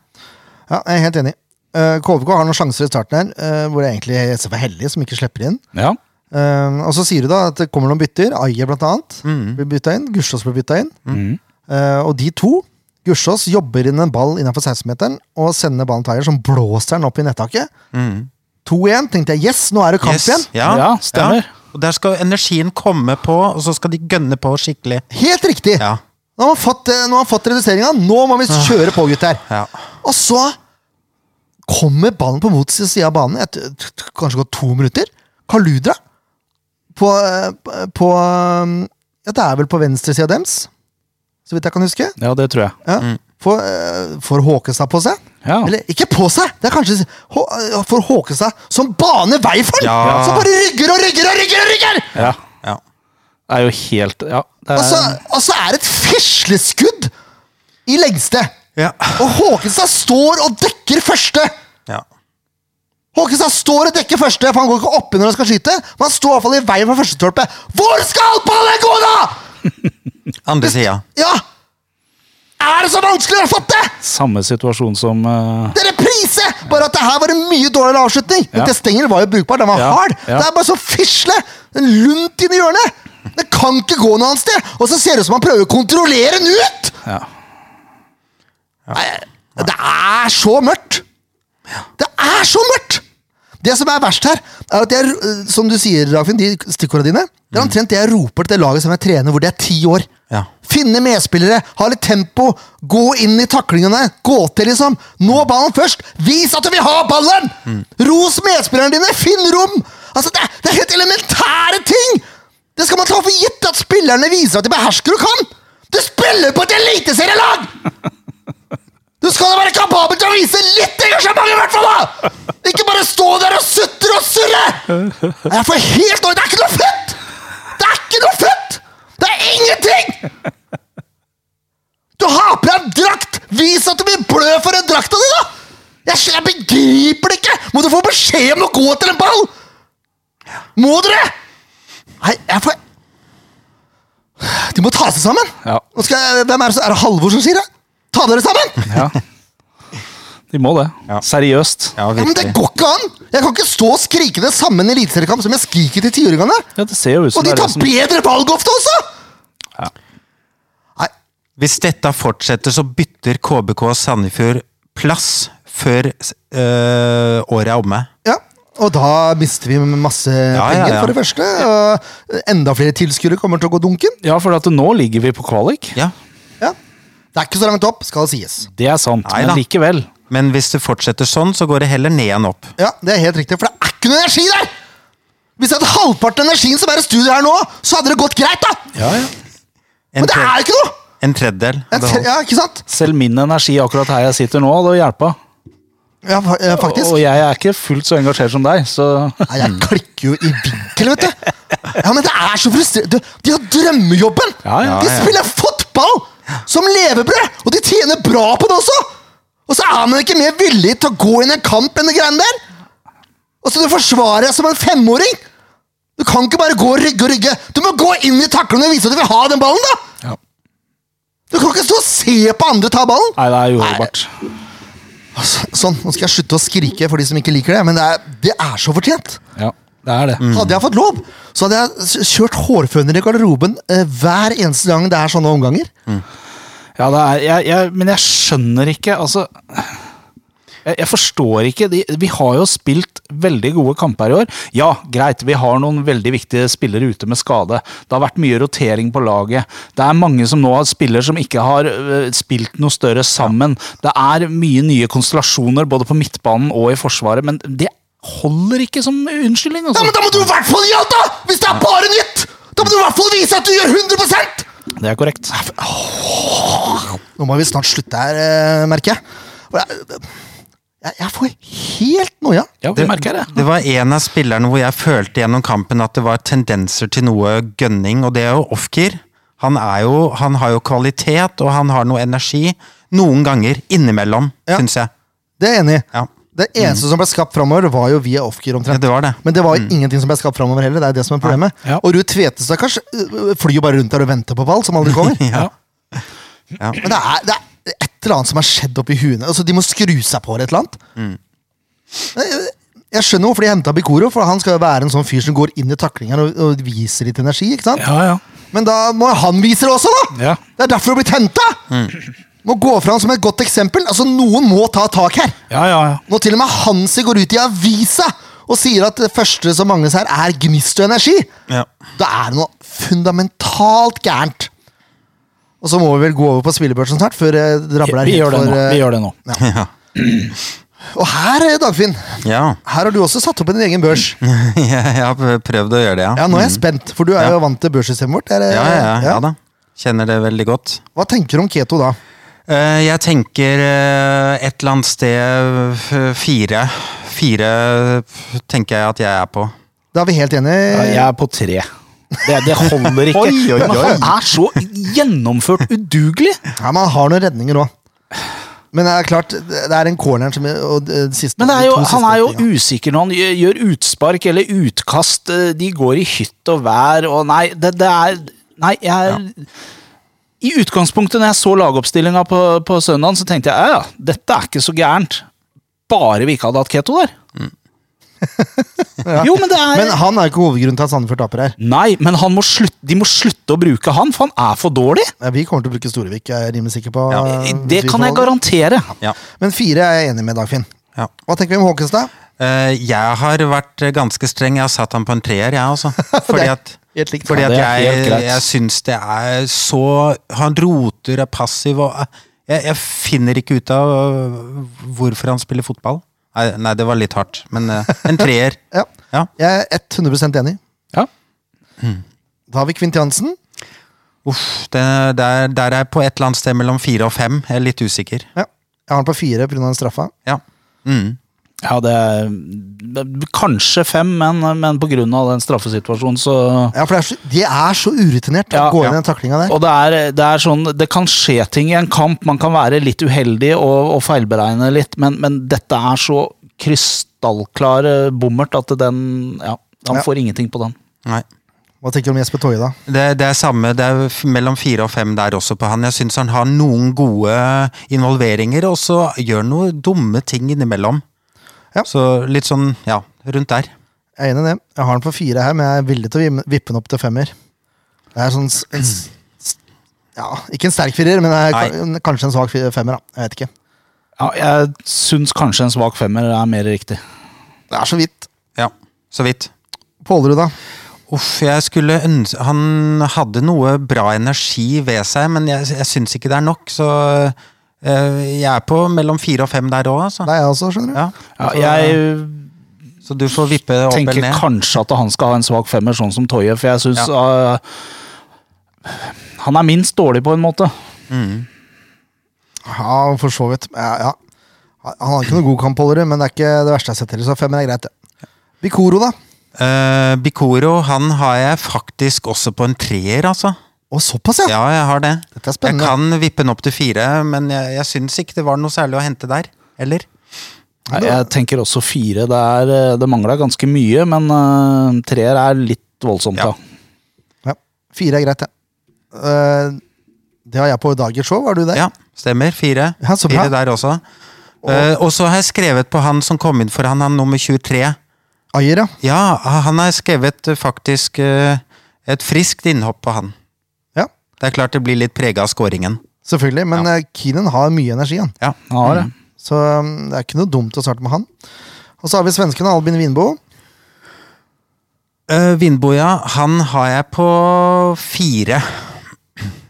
A: Ja, jeg er helt enig. Eh, KVK har noen sjanser i starten her, eh, hvor det egentlig er SF er heldige som ikke slipper inn.
B: ja.
A: Eh, og så sier du da at det kommer noen bytter. Aje blant annet
C: Mm.
A: blir bytta inn. Gussiås blir bytta inn. Eh, og de to, Gussiås jobber inn en ball innenfor 16-meteren og sender ballen til Ayer, som blåser den opp i nettaket. 2-1, tenkte jeg. Yes, nå er det kamp
C: Mm. Yes,
A: igjen!
C: Ja,
B: Ja, stemmer.
C: ja. Og der skal energien komme på, og så skal de gønne på skikkelig.
A: Helt riktig!
C: Ja,
A: Nå har man fått, eh, nå har man fått reduseringa. Nå må vi kjøre på, gutter!
C: ja.
A: Og så kommer ballen på motsatt side av banen etter t- t- kanskje gått to minutter. Kaludra på, eh, på eh, Ja, det er vel på venstresida deres, så vidt jeg kan huske.
B: ja, det tror jeg.
A: Ja. Får, eh, får Håkestad på seg?
B: Ja.
A: Eller ikke på seg! Det er kanskje Hå, eh, Får Håkestad som baner vei for den!
C: Ja.
A: Som bare rygger og rygger og rygger! og rygger!
B: Ja.
C: ja.
B: Det er jo helt Ja. Det er,
A: Og så, og så er det et fisleskudd i lengste!
C: Ja.
A: Og Håkestad står og dekker første!
C: ja.
A: Håkestad står og dekker første, for han går ikke oppi når han skal skyte. Men han står i hvert fall i veien for første torpet. Hvor skal ballen gå, da?!
C: Andre sida.
A: Ja! Er det så vanskelig å fatte?!
B: Samme situasjon som eh,
A: Det er reprise! Bare at det her var en mye dårligere avslutning.
B: Ja.
A: Men Stengel var jo brukbar. Den var
B: Ja,
A: hard.
B: ja.
A: Det er bare så fisle! En lunt inn i hjørnet! Det kan ikke gå noe annet sted! Og så ser det ut som han prøver å kontrollere den ut!
B: ja.
A: Nei, Det er så mørkt! Det er så mørkt! Det som er verst her, er at jeg, øh, som du sier, Dagfinn, de stikkordene dine, det er omtrent det jeg roper til det laget som jeg trener, hvor det er ti år.
C: Ja.
A: Finne medspillere, ha litt tempo, gå inn i taklingene, gå til, liksom. Nå ballen først! Vis at du vil ha ballen! Ros medspillerne dine, finn rom! Altså, det, er- det er helt elementære ting! Det skal man ta for gitt at spillerne viser at de behersker og kan! Du spiller på et eliteserielag! Du skal da være kapabel til å vise litt engasjement, i hvert fall! da! Ikke bare stå der og sutre og surre! Jeg får helt noe. Det er ikke noe fett! Det er ikke noe fett! Det er ingenting! Du har på deg en drakt! Vis at du vil blø for den drakta di, da! Jeg, skj- jeg begriper det ikke! Må du få beskjed om å gå etter en ball? Må dere? De må ta seg sammen!
B: Ja.
A: Nå skal, jeg- hvem er, det, som- er det Halvor som sier det? Ta dere sammen!
B: ja. De må det.
C: Ja.
B: Seriøst.
C: Ja,
A: Ja, men det
C: virkelig.
A: går ikke an! Jeg kan ikke stå og skrike det samme i eliteseriekamp som jeg skriker til tiåringene!
B: Ja, det ser jo ut som
A: Og de
B: det er
A: tar
B: det som
A: bedre valg ofte også!
B: Ja.
A: Nei,
C: Hvis dette fortsetter, så bytter KBK Sandefjord plass før øh, året er omme.
A: ja. Og da mister vi masse
C: ja,
A: penger,
C: ja.
A: for det første. Og enda flere tilskuere kommer til å gå dunken.
B: Ja, for at nå ligger vi på kvalik.
C: Ja.
A: Ja. Det er ikke så langt opp, skal sies.
B: Det er sant,
C: Nei da.
B: men likevel.
C: Men hvis det fortsetter sånn, så går det heller ned enn opp.
A: Ja, det er helt riktig, for det er ikke noe energi der! Hvis jeg hadde halvparten av energien som er i studio her nå, så hadde det gått greit, da!
C: En,
A: Men det
C: tre-
A: er jo ikke noe!
C: en tredjedel.
A: Jeg
C: hadde
A: tre-
C: holdt.
A: Ja, ikke sant?
B: Selv min energi akkurat her jeg sitter nå, hadde hjelpa.
A: Ja, fa- ja, faktisk.
B: Og jeg er ikke fullt så engasjert som deg, så
A: Nei, jeg klikker jo i vinkel, vet du. Ja, men det er så frustrerende. Du, De har drømmejobben!
B: Ja, ja,
A: de
C: ja.
A: spiller fotball som levebrød! Og de tjener bra på det også! Og så er man ikke mer villig til å gå inn i en kamp enn de greiene der! Og så du forsvarer deg som en femåring! Du kan ikke bare gå og rygge og rygge. Du må gå inn i taklene og vise at du vil ha den ballen, da!
B: Ja.
A: Du kan ikke stå og se på andre ta ballen!
B: Nei, det er uholdbart.
A: Altså, sånn, nå skal jeg slutte å skrike for de som ikke liker det, men det er, det er så fortjent.
B: Ja, det er det.
C: Mm.
A: Hadde jeg fått lov, så hadde jeg s- kjørt hårføner i garderoben eh, hver eneste gang det er sånne omganger.
C: Mm.
B: Ja, det er, jeg, jeg, men jeg skjønner ikke, altså jeg, jeg forstår ikke. De, vi har jo spilt veldig gode kamper i år. Ja, greit, vi har noen veldig viktige spillere ute med skade. Det har vært mye rotering på laget. Det er mange som nå har spillere som ikke har øh, spilt noe større sammen. Det er mye nye konstellasjoner både på midtbanen og i forsvaret, men det holder ikke som
A: Ja,
B: unnskyldning. Altså.
A: men Da må du i hvert fall gi alt, da! Hvis det er bare nytt! Da må du i hvert fall vise at du gjør 100
B: Det er korrekt.
A: Nå må vi snart slutte her, eh, merker jeg. Og Jeg, jeg, jeg får helt noia.
B: Ja, vi merker det.
C: Det var en av spillerne hvor jeg følte gjennom kampen at det var tendenser til noe gønning, og det er jo Ofkir. Han, er jo, han har jo kvalitet, og han har noe energi. Noen ganger innimellom,
A: Ja.
C: syns jeg.
A: Det er jeg enig i.
C: Ja. Mm.
A: Det eneste som ble skapt framover, var jo via off-gear
C: ja,
A: omtrent.
C: det Mm. var det.
A: Men det var jo ingenting som ble skapt framover heller. Det er jo det som er problemet.
B: Ja.
A: Og Ruud Tvete, stakkars, øh, flyr jo bare rundt der og venter på ball, som aldri kommer.
B: Ja.
C: Ja.
A: Men det er, det er et eller annet som har skjedd oppi huene. Altså, de må skru seg på et eller annet.
B: Mm.
A: Jeg- Jeg skjønner hvorfor de henta Bikoro, for han skal jo være en sånn fyr som går inn i taklinger og, og viser litt energi. ikke sant?
B: Ja, ja.
A: Men da må han vise det også, da!
B: Ja. Mm.
A: Det er derfor det har blitt henta! Må gå fram som et godt eksempel. Altså, Noen må ta tak her!
B: Ja, ja, ja.
A: Når til og med Hansi går ut i avisa og sier at det første som mangles her, er gnist og energi,
C: Ja.
A: da er det noe fundamentalt gærent. Og så må vi vel gå over på spillebørsen snart, før eh, det
B: Vi,
A: rabler
B: vi gjør det
A: for,
B: nå.
A: eh,
B: Vi gjør det nå.
C: Ja.
A: Og her, eh, Dagfinn,
C: ja.
A: her har du også satt opp en egen børs.
C: Jeg har prøvd å gjøre det, ja.
A: Ja, Nå er jeg spent, for du er jo vant til børssystemet vårt. Er, eh,
C: Ja, ja, ja, ja
A: ja.
C: da. Kjenner det veldig godt.
A: Hva tenker du om Keto da?
C: Eh, Jeg tenker eh, et eller annet sted eh, fire. Fire eh, tenker jeg at jeg er på.
A: Da er vi helt
B: Ja,
A: enige.
B: jeg er på tre. Det, det holder ikke.
C: Oi, oi,
B: Men
C: oi.
B: han er så gjennomført udugelig!
A: Ja, man har noen redninger òg. Men det er klart, det er en corner som og det siste,
B: Men det er jo,
A: de to
B: han er
A: siste tingene.
B: jo usikker når han gjør- gjør utspark eller utkast. eh, De går i hytt og vær og Nei, det, det er Nei, jeg er I utgangspunktet, når jeg så lagoppstillinga på, på søndagen, så tenkte jeg ja, ja, dette er ikke så gærent. Bare vi ikke hadde hatt Keto der. Jo, men det
A: Mm.
B: er
A: Men han er jo ikke hovedgrunnen til at Sandefjord taper her.
B: Nei, men han må slutt- de må slutte å bruke han, for han er for dårlig.
A: Ja, Vi kommer til å bruke Storevik, jeg er rimelig sikker på.
C: Ja,
A: eh, hvis
B: Det
A: vi
B: kan jeg
A: får valget.
B: garantere.
C: Ja.
A: Men fire er jeg enig med, Dagfinn.
C: ja.
A: Hva tenker vi om Håkenstad?
C: Eh, jeg har vært eh, ganske streng. Jeg har satt han på en treer, jeg, altså. Fordi at,
A: Helt likt.
C: fordi
B: Ja,
C: at
B: det er helt
C: jeg,
B: greit.
C: jeg syns det er så Han roter, er passiv og eh, jeg, jeg finner ikke ut av eh, hvorfor han spiller fotball. Nei, nei det var litt hardt, men eh, en treer.
A: Ja,
C: Ja.
A: jeg er 100 enig.
B: Ja.
A: Da har vi Kvint Jansen.
C: Uff, det, der, der er jeg på et eller annet sted mellom fire og fem. Jeg er litt usikker.
A: Ja. Jeg har han på fire pga. den straffa.
C: Ja. Mm.
B: Ja, det er det- Kanskje fem, men, men på grunn av den straffesituasjonen, så
A: Ja, for det er så, De er så urutinert å
B: Ja,
A: gå inn i
C: ja.
A: den taklinga der.
B: og det er, det er sånn, det kan skje ting i en kamp, man kan være litt uheldig og, og feilberegne litt, men, men dette er så krystallklar eh, bommert at den Ja, han
A: Ja.
B: får ingenting på den.
C: Nei.
A: Hva tenker du om Jesper Toje, da?
C: Det, det er samme, det er f- mellom fire og fem der også på han. Jeg syns han har noen gode involveringer, og så gjør han noen dumme ting innimellom.
A: Ja.
C: Så litt sånn, ja, rundt der.
A: Jeg er enig i det. Jeg har den på fire her, men jeg er villig til å vim- vippe den opp til femmer. Det er sånn s- en, s- s- Ja, ikke en sterk firer, men det er ka- en- kanskje en svak fi- femmer. da. Jeg vet ikke.
B: Ja, jeg syns kanskje en svak femmer er mer riktig.
A: Det er så vidt.
C: Ja, så vidt.
A: Pålerud, da?
C: Uff, jeg skulle ønske Han hadde noe bra energi ved seg, men jeg, jeg syns ikke det er nok, så eh, jeg er på mellom fire og fem der òg, altså.
A: Det er jeg også, skjønner du.
C: Ja,
B: Ja, jeg
C: så du får vippe opp
B: tenker
C: eller ned.
B: kanskje at han skal ha en svak femmer, sånn som Toje, for jeg syns ah, Han er minst dårlig, på en måte.
A: Ja, for så vidt. Ja, ja. Han har ikke noen god kamp, Pålerud, men det er ikke det verste jeg har sett heller, så femmer er greit, det. Bikoro, da?
C: Eh, Bikoro, han har jeg faktisk også på en treer, altså.
A: Å, såpass, ja!
C: Ja, jeg har det.
A: Dette er
C: Jeg
A: spennende.
C: kan vippe den opp til fire, men jeg, jeg syns ikke det var noe særlig å hente der. Eller?
B: Nei, Jeg tenker også fire. Det, er, eh, det mangla ganske mye, men eh, treer er litt voldsomt,
C: Ja.
B: da.
A: Ja. Fire er greit, ja. Eh, det har jeg på Dagers show, var du der?
C: Ja, stemmer. Fire.
A: Ja, så bra.
C: fire der også. Eh, og så har jeg skrevet på han som kom inn for han, han nummer 23.
A: Ayer, ja.
C: Ja, han har skrevet eh, faktisk eh, et friskt innhopp på han.
A: ja.
C: Det er klart det blir litt prega av scoringen.
A: Selvfølgelig, men eh, Keenan har mye energi, han.
C: Ja.
B: Han har det.
A: Så um, det er ikke noe dumt å starte med han. Og så har vi svenskene Albin Winbo.
C: Uh, Vindboja, han har jeg på fire.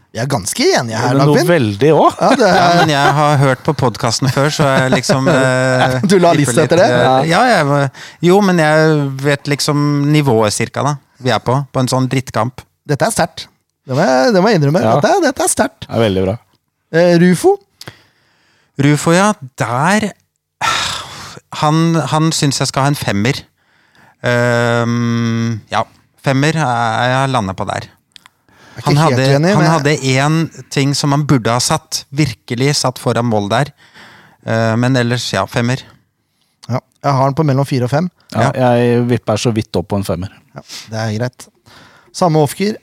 A: Vi er ganske enige her,
B: Men noe
A: Albin.
B: veldig òg.
A: Ja, det
C: Ja,
A: er,
C: men jeg har hørt på podkasten før, så jeg liksom eh,
A: Du la
C: tipper
A: lista
C: litt,
A: etter det?
C: eh, Ja, jeg, jo, men jeg vet liksom nivået cirka, da. Vi er på. På en sånn drittkamp.
A: dette er sterkt. Det må jeg, det må jeg innrømme.
B: Ja.
A: Dette, er- dette er sterkt.
B: er veldig bra.
A: Eh, Rufo.
C: Rufo, ja. Der Han, han syns jeg skal ha en femmer. Ehm, ja. Femmer er jeg landa på der.
A: er ikke
C: Han
A: helt
C: hadde,
A: uenig,
C: han
A: men-
C: hadde én ting som han burde ha satt. Virkelig satt foran mål der. Eh, men ellers, ja. Femmer.
A: Ja, jeg har den på mellom fire og fem.
B: Ja, jeg vipper så vidt opp på en femmer.
A: Ja, det er greit. Samme Ofker.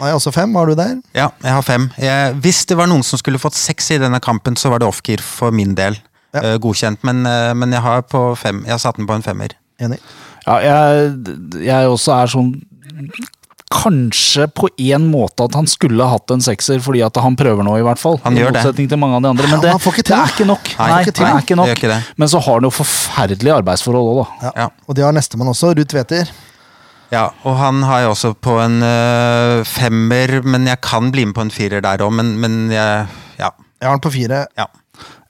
A: Har jeg også fem? Har du der?
C: Ja, jeg har fem. Jeg, hvis det var noen som skulle fått seks i denne kampen, så var det off-gear for min del.
A: Ja.
C: Eh, godkjent, men, eh, men jeg har på fem. Jeg har satt den på en femmer.
A: Enig.
B: Ja, jeg, jeg også er sånn Kanskje på en måte at han skulle hatt en sekser, fordi at han prøver nå, i hvert fall.
C: Han
B: I
C: gjør det.
B: motsetning til mange av de andre.
A: Ja,
B: Men det,
A: han får ikke til.
B: det er ikke nok. Nei,
C: Nei, han får ikke
B: det
C: til.
B: er ikke
C: Det
B: nok.
C: gjør ikke det.
B: Men så har han jo forferdelige arbeidsforhold òg, da.
A: Ja.
C: Ja.
A: Og det har nestemann også, Ruud Tveter.
C: Ja, og han har jeg også på en eh, femmer, men jeg kan bli med på en firer der òg, men, men jeg, ja.
A: Jeg har den på fire.
C: ja.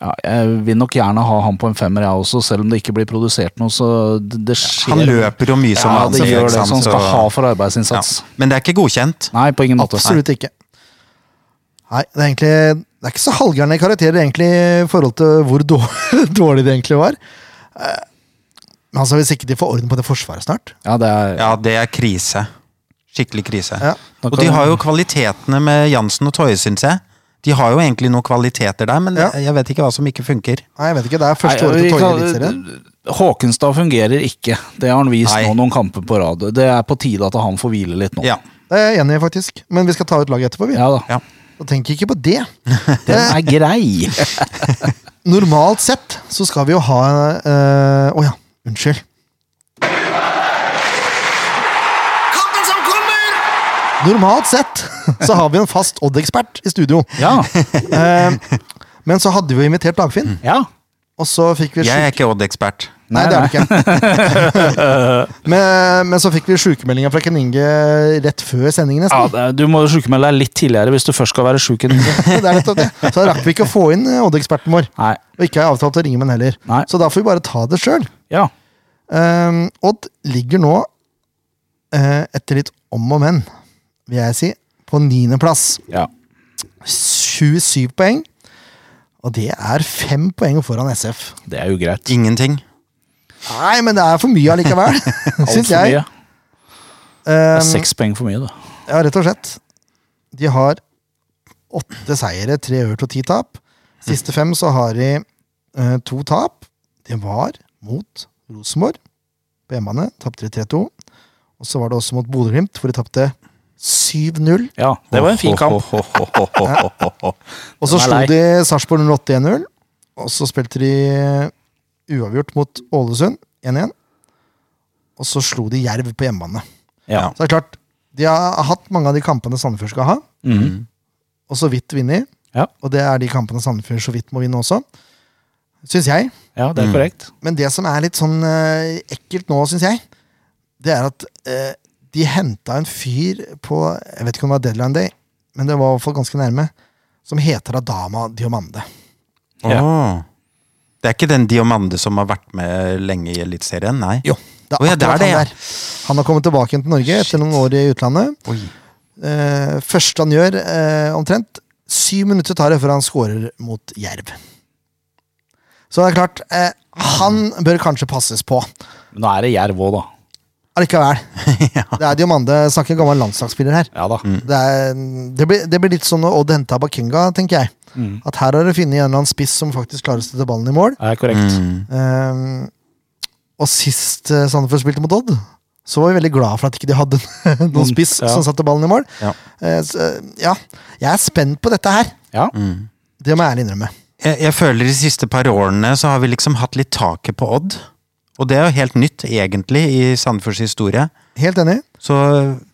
B: Ja, jeg vil nok gjerne ha han på en femmer, jeg også, selv om det ikke blir produsert noe. så det, det skjer.
C: Han løper jo mye som
B: ja,
C: han
B: det
C: sier,
B: gjør
C: ikke
B: det,
C: sant,
B: så han skal
C: så-
B: ha for
C: ja.
B: arbeidsinnsats.
C: Men det er ikke godkjent.
B: Nei, på ingen måte.
A: Absolutt ikke. Nei, det er egentlig Det er ikke så halvgærne karakterer egentlig i forhold til hvor dårlig, dårlig det egentlig var. Eh, Men altså, hvis ikke de får orden på det forsvaret snart
B: Ja, det er,
C: Ja, det er krise. Skikkelig krise.
A: Ja.
C: Og de har jo kvalitetene med Jansen og Toje, syns jeg. De har jo egentlig noen kvaliteter der, men
A: Ja.
C: jeg vet ikke hva som ikke funker.
A: Nei, jeg vet ikke, Det er første
B: Nei,
A: året til
B: vi
A: Toje
B: kan-
A: i Eliteserien.
B: Håkenstad fungerer ikke. Det har han vist
C: Nei.
B: nå noen kamper på rad. Det er på tide at han får hvile litt nå.
C: Ja.
A: Det er jeg enig i, faktisk. Men vi skal ta ut laget etterpå. vi.
B: Ja da.
C: Ja.
A: Så tenk ikke på det.
B: Den er grei.
A: Normalt sett så skal vi jo ha eh, Å ja, unnskyld.
D: Kampen som kommer!
A: Normalt sett så har vi en fast Odd-ekspert i studio.
B: Ja.
A: Eh, men så hadde vi jo invitert Dagfinn,
B: ja.
A: og så fikk vi
C: Jeg er ikke Odd-ekspert.
A: Nei, det er det ikke. men, men så fikk vi sykemeldinga fra Ken Inge rett før sendingen.
B: ja
A: nesten.
B: det er- du må sjukmelde deg litt tidligere hvis du først skal være sjuk. Nei.
A: Det er nettopp det. Så rakk vi ikke å få inn eh, Odd-eksperten vår. Og ikke har jeg avtalt å ringe med den heller.
B: Nei.
A: Så da får vi bare ta det sjøl.
B: Ja.
A: Ehm, Odd ligger nå, eh, etter litt om og men, vil jeg si, på niendeplass.
B: ja.
A: 27 poeng. Og det er fem poeng foran SF.
B: Det er jo greit.
C: Ingenting.
A: Nei, men det er for mye allikevel, syns
B: for
A: jeg.
B: mye. Det er
A: Um,
B: Seks poeng for mye, da.
A: Ja, rett og slett. De har åtte seire, tre øvert og ti tap. Siste fem så har de eh, to tap. Det var mot Rosenborg på hjemmebane. Tapte de 3-2. Og så var det også mot Bodø-Glimt, hvor de tapte 7-0.
B: Ja, det var en fin kamp.
A: Og så
B: Den er
A: slo
B: lei.
A: de Sarpsborg 08 1-0. Og så spilte de uavgjort mot Ålesund 1-1. Og så slo de Jerv på hjemmebane.
B: Ja.
A: Så det er klart, de har hatt mange av de kampene Sandefjord skal ha,
B: Mhm.
A: og så vidt vinner.
B: Ja.
A: Og det er de kampene Sandefjord så vidt må vinne også. Syns jeg.
B: ja, det er korrekt.
A: Men det som er litt sånn eh, ekkelt nå, syns jeg, det er at eh, de henta en fyr på Jeg vet ikke om det var Deadline Day, men det var i hvert fall ganske nærme. Som heter Adama Diomande.
B: Ja.
C: Åh. Det er ikke den Diomande som har vært med lenge i Eliteserien? Nei.
A: Jo, det er
C: Å ja, det er
A: akkurat
C: det, ja.
A: han der. Han har kommet tilbake igjen til Norge etter noen år i utlandet.
C: Oi.
A: Eh, første han gjør, eh, omtrent syv minutter tar det før han scorer mot Jerv. Så det er klart, eh, han bør kanskje passes på.
B: Men nå er det Jerv òg, da.
A: Allikevel. Det er Diomande, snakker gammel landslagsspiller her.
B: Ja da.
A: Det, er, det, blir, det blir litt sånn når Odd henta Bakenga, tenker jeg.
C: Mm.
A: At her har du funnet en eller annen spiss som faktisk klarer å støtte ballen i mål.
B: Det er korrekt.
A: Ehm, og sist eh, Sandefjord spilte mot Odd, så var vi veldig glad for at ikke de hadde noen spiss
B: Mm, ja.
A: som satte ballen i mål.
C: Ja.
A: Eh, så, eh, ja, jeg er spent på dette her.
B: Ja.
A: Det må jeg ærlig innrømme.
C: Jeg, jeg føler de siste par årene så har vi liksom hatt litt taket på Odd. Og det er jo helt nytt, egentlig, i Sandefjords historie.
A: Helt enig.
C: Så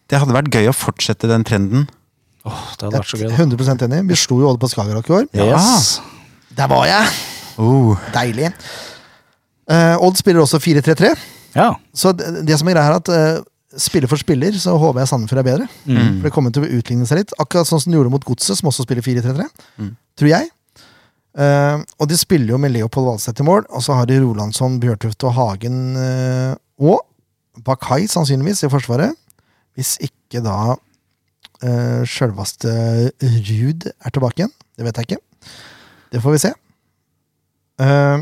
C: det hadde vært gøy å fortsette den trenden.
B: Åh, det hadde vært så gøy, da.
A: 100 enig. Vi slo jo Odd på Skagerrak i år.
B: Yes. Uh.
A: Der var jeg! Deilig. Eh, Odd spiller også 4-3-3.
B: Ja.
A: Så det, det som er greia her er at eh, spiller for spiller, så håper jeg Sandefjord er bedre. For det kommer til å utligne seg litt. Akkurat sånn som de gjorde mot Godset, som også spiller 4-3-3. Tror jeg. Eh, og de spiller jo med Leopold Valstedt i mål, og så har de Rolandsson, Bjørtuft og Hagen eh, og Bakai sannsynligvis i forsvaret. Hvis ikke da uh, sjølveste Ruud er tilbake igjen. Det vet jeg ikke. Det får vi se. Eh,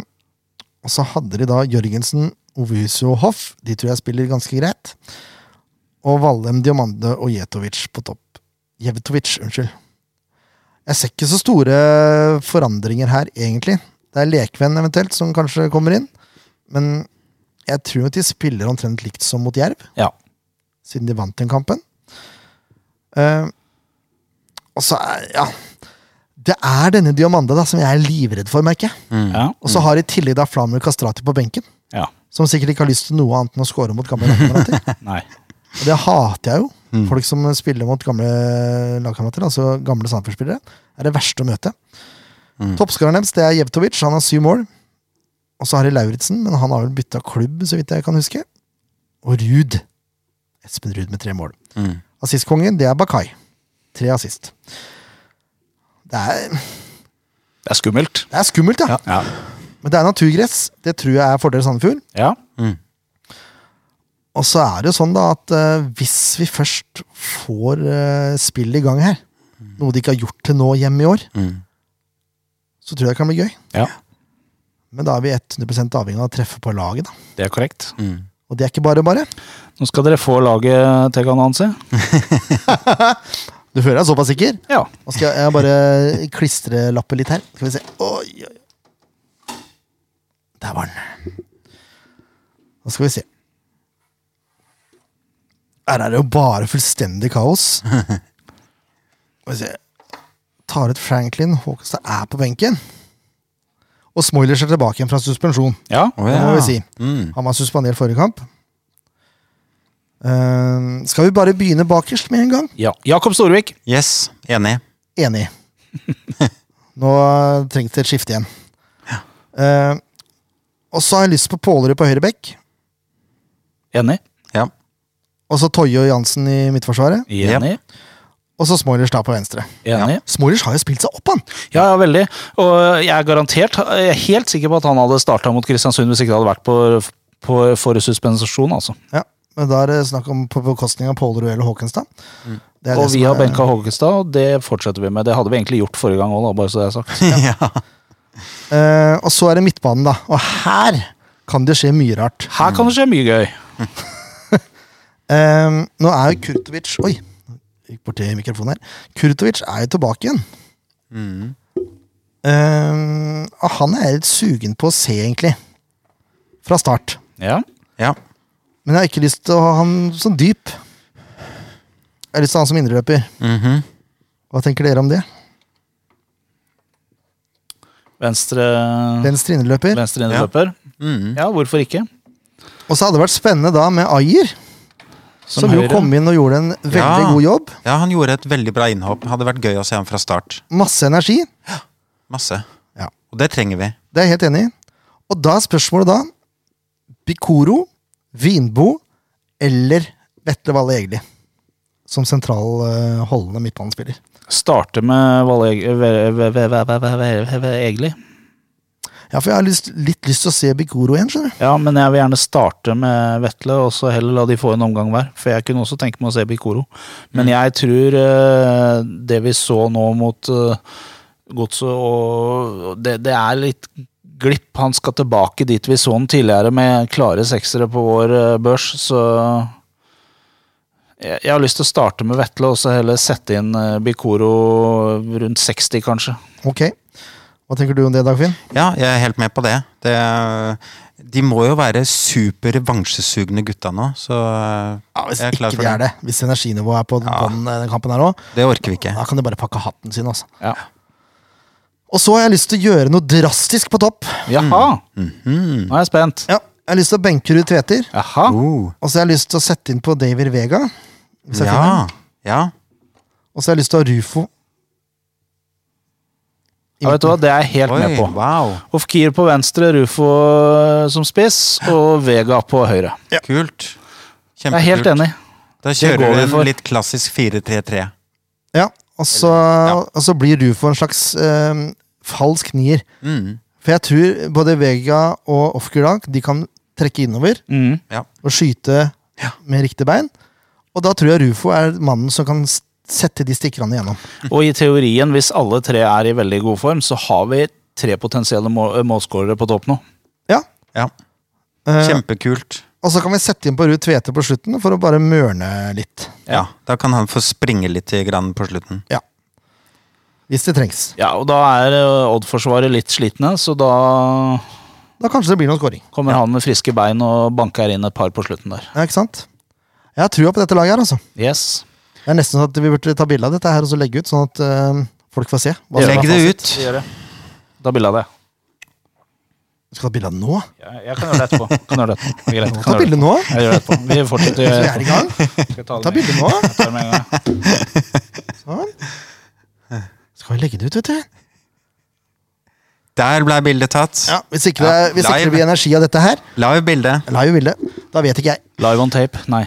A: og så hadde de da Jørgensen, Ovuso og Hoff. De tror jeg spiller ganske greit. Og Vallem, Diomande og Jetovic på topp. Jevtovic, unnskyld. Jeg ser ikke så store forandringer her, egentlig. Det er Lekvenn eventuelt som kanskje kommer inn. Men jeg tror at de spiller omtrent likt som mot Jerv,
B: ja.
A: siden de vant den kampen. Eh, og så er Ja. Det er denne Diomande da, som jeg er livredd for, merker jeg.
B: Ja.
A: Og så har i tillegg da Flamur Kastrati på benken
B: ja.
A: som sikkert ikke har lyst til noe annet enn å score mot gamle lagkamerater.
B: Nei.
A: Og det hater jeg jo. Folk som spiller mot gamle lagkamerater, altså gamle Sandefjord-spillere, er det verste å møte. Toppskåreren deres det er Jevtovic, han har syv mål. Og så har de Lauritzen, men han har vel bytta klubb, så vidt jeg kan huske. Og Ruud. Espen Ruud med tre mål.
C: Mm.
A: Assistkongen, det er Bakai. Tre assist. Det er,
B: Det er skummelt.
A: det er skummelt, ja.
B: Ja.
A: Men det er naturgress. Det tror jeg er fordel Sandefjord.
B: Ja.
A: Og så er det jo sånn da at eh, hvis vi først får uh, spill i gang her, noe de ikke har gjort til nå hjemme i år,
C: Mm.
A: så tror jeg det kan bli gøy.
B: ja.
A: Men da er vi 100 avhengig av å treffe på laget, da.
B: Det er korrekt.
A: Og det er ikke bare bare.
B: Nå skal dere få laget til Ganansi.
A: Du føler deg såpass sikker?
B: Ja.
A: Nå skal jeg bare klistrelappe litt her. Skal vi se. Oi, oi. Der var den. Nå skal vi se. Her er det jo bare fullstendig kaos. Skal vi se. Tar ut Franklin. Håkonstad er på benken. Og Smoilers er tilbake igjen fra suspensjon.
B: Ja.
C: Å
A: Det
C: ja.
A: må vi si.
C: Mm.
A: Han var suspendert forrige kamp. Eh, skal vi bare begynne bakerst med en gang?
B: ja. Jakob Storvik.
C: Yes, enig.
A: Enig. Nå trengs det et skifte igjen. Eh, og så har jeg lyst på Pålerud på høyre bekk.
B: Enig.
C: Ja.
A: Og så Toje og Jansen i midtforsvaret.
B: Enig.
A: Og så Smoilers da på venstre.
B: Enig.
A: Smoilers har jo spilt seg opp, han!
B: Ja, ja, veldig. Og eh, jeg er garantert jeg er helt sikker på at han hadde starta mot Kristiansund hvis ikke det hadde vært på, på for suspensjon, altså.
A: Ja, Men da er det snakk om på bekostning av Pålerud eller Håkenstad. Det er det
B: Mm. Og
A: som
B: vi har
A: er-
B: benka Hågestad, og det fortsetter vi med. Det hadde vi egentlig gjort forrige gang òg, bare så det er sagt.
C: ja.
A: Eh, og så er det midtbanen, da. Og her kan det skje mye rart.
B: Her kan det skje mye gøy.
A: Eh, nå er jo Kurtovic Oi, gikk borti mikrofonen her. Kurtovic er jo tilbake igjen.
C: Mm.
A: Eh, og han er jeg litt sugen på å se, egentlig. Fra start.
B: Ja.
C: ja.
A: Men jeg har ikke lyst til å ha han som dyp. Jeg har lyst til å ha han som indreløper.
C: Mhm.
A: Hva tenker dere om det?
B: Venstre, Mm.
A: Venstre indreløper.
B: venstre indreløper.
C: Mhm.
B: Ja, hvorfor ikke?
A: Og så hadde det vært spennende da med Ayer, som, jo
B: høyre.
A: kom inn og gjorde en veldig
C: Ja.
A: god jobb.
C: Ja, han gjorde et veldig bra innhopp. Hadde vært gøy å se ham fra start.
A: Masse energi.
C: Masse.
A: Ja.
C: Og det trenger vi.
A: Det er jeg helt enig i. Og da er spørsmålet da Bikoro, Vinbo eller Vetle Valle Egli som sentral eh, holdende midtbanespiller.
B: Starte med Valle Eg- Ve- Ve- Ve- Ve- Ve- Ve- Ve- Ve- Ve- Egli.
A: Ja, for jeg har lyst, litt lyst til å se Bikoro igjen, skjønner du.
B: Ja, men jeg vil gjerne starte med Vetle, og så heller la de få en omgang hver. For jeg kunne også tenke meg å se Bikoro. Men jeg tror eh, det vi så nå mot eh, Godset, og og det, det er litt glipp. Han skal tilbake dit vi så han tidligere, med klare seksere på vår eh, børs, så jeg, jeg har lyst til å starte med Vetle, og så heller sette inn eh, Bikoro rundt 60, kanskje.
A: Ok. Hva tenker du om det, Dagfinn?
C: Ja, jeg er helt med på det. det de må jo være super revansjesugne gutta nå, så
A: Ja, Hvis
C: jeg er
A: ikke
C: klar for
A: de er det, hvis energinivået er på den, på den, den kampen her òg,
C: Det orker vi ikke.
A: da kan de bare pakke hatten sin. altså.
B: Ja.
A: Og så har jeg lyst til å gjøre noe drastisk på topp.
B: Jaha!
C: Mm.
B: Nå er jeg spent.
A: Ja, Jeg har lyst til å benke Ruud Tveter,
B: Jaha.
C: Oh.
A: og så har jeg lyst til å sette inn på David Vega. hvis jeg finner
C: Ja,
A: den.
C: ja.
A: Og så har jeg lyst til å ha Rufo.
B: Ja, vet du hva, det er jeg helt
C: Oi,
B: med på.
C: wow.
B: Ofkir på venstre, Rufo eh, som spiss og Vega på høyre.
C: Kult.
B: Jeg er helt enig.
C: Da
B: går
C: kjører
B: vi
C: vi en
B: for.
C: litt klassisk 4-3-3.
A: Ja, og så, og så blir Rufo en slags eh, falsk nier.
C: Mm.
A: For jeg tror både Vega og Ofkurak de kan trekke innover
B: Mm.
C: Ja.
A: og skyte med riktig bein. Og da tror jeg Rufo er mannen som kan s- sette de stikkerne igjennom.
B: Og i teorien, hvis alle tre er i veldig god form, så har vi tre potensielle må målskårere på topp nå.
A: Ja,
C: ja.
A: eh,
C: Kjempekult.
A: Og så kan vi sette inn på Ruud Tvete på slutten for å bare mørne litt.
C: Ja, Da kan han få springe litt i grann på slutten.
A: Ja. Hvis det trengs.
B: Ja, og da er eh, Odd-forsvaret litt slitne, så da
A: Da kanskje det blir noen scoring.
B: kommer han med friske bein og banker inn et par på slutten der.
A: Ja, ikke sant? Jeg har trua på dette laget her, altså.
B: Yes.
A: Det er nesten sånn at vi burde ta bilde av dette her og så legge ut, sånn at eh, folk får se. Hva som
B: Gjør
A: er
C: Legg det
A: fasit.
C: ut.
B: Vi gjør det. Da bilde av det.
A: Skal du ta bilde av det nå?
B: Jeg, jeg kan gjøre det etterpå. Kan gjøre det etterpå. Det er greit.
A: Ta
B: Kan gjøre det
A: bilde nå!
B: etterpå. Jeg gjør det etterpå. Vi fortsetter.
A: Vi er i gang.
B: Skal jeg ta det
A: Ta
B: med en
A: bilde
B: gang?
A: nå.
B: Jeg tar det med en gang.
A: Sånn. Skal vi legge det ut, vet du?
C: Der ble bildet tatt.
A: Ja, Vi sikrer,
C: Ja,
A: vi, sikrer
C: live.
A: vi energi av dette her.
C: Live bilde.
A: Live bilde. Da vet ikke jeg.
B: Live on tape? Nei.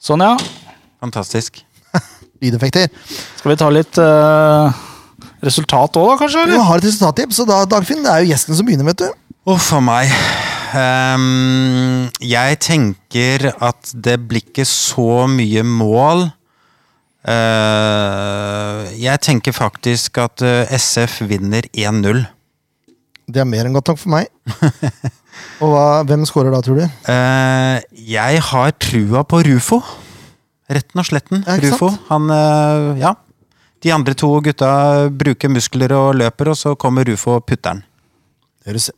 B: Sånn, ja.
C: Fantastisk.
A: Lydeffekter.
B: Skal vi ta litt eh, resultat òg, da, kanskje?
A: Vi
B: Eller?
A: har et resultattips, og da, Dagfinn, det er jo gjesten som begynner, vet du.
C: Uff a meg. Ehm, jeg tenker at det blir ikke så mye mål. Eh, jeg tenker faktisk at eh, SF vinner 1-0.
A: Det er mer enn godt nok for meg. Og hva, hvem scorer da, tror du?
C: Eh, jeg har trua på Rufo. Retten og sletten.
A: Ja, ikke sant?
C: Rufo. Han eh, Ja. De andre to gutta bruker muskler og løper, og så kommer Rufo og putter den.
A: Det høres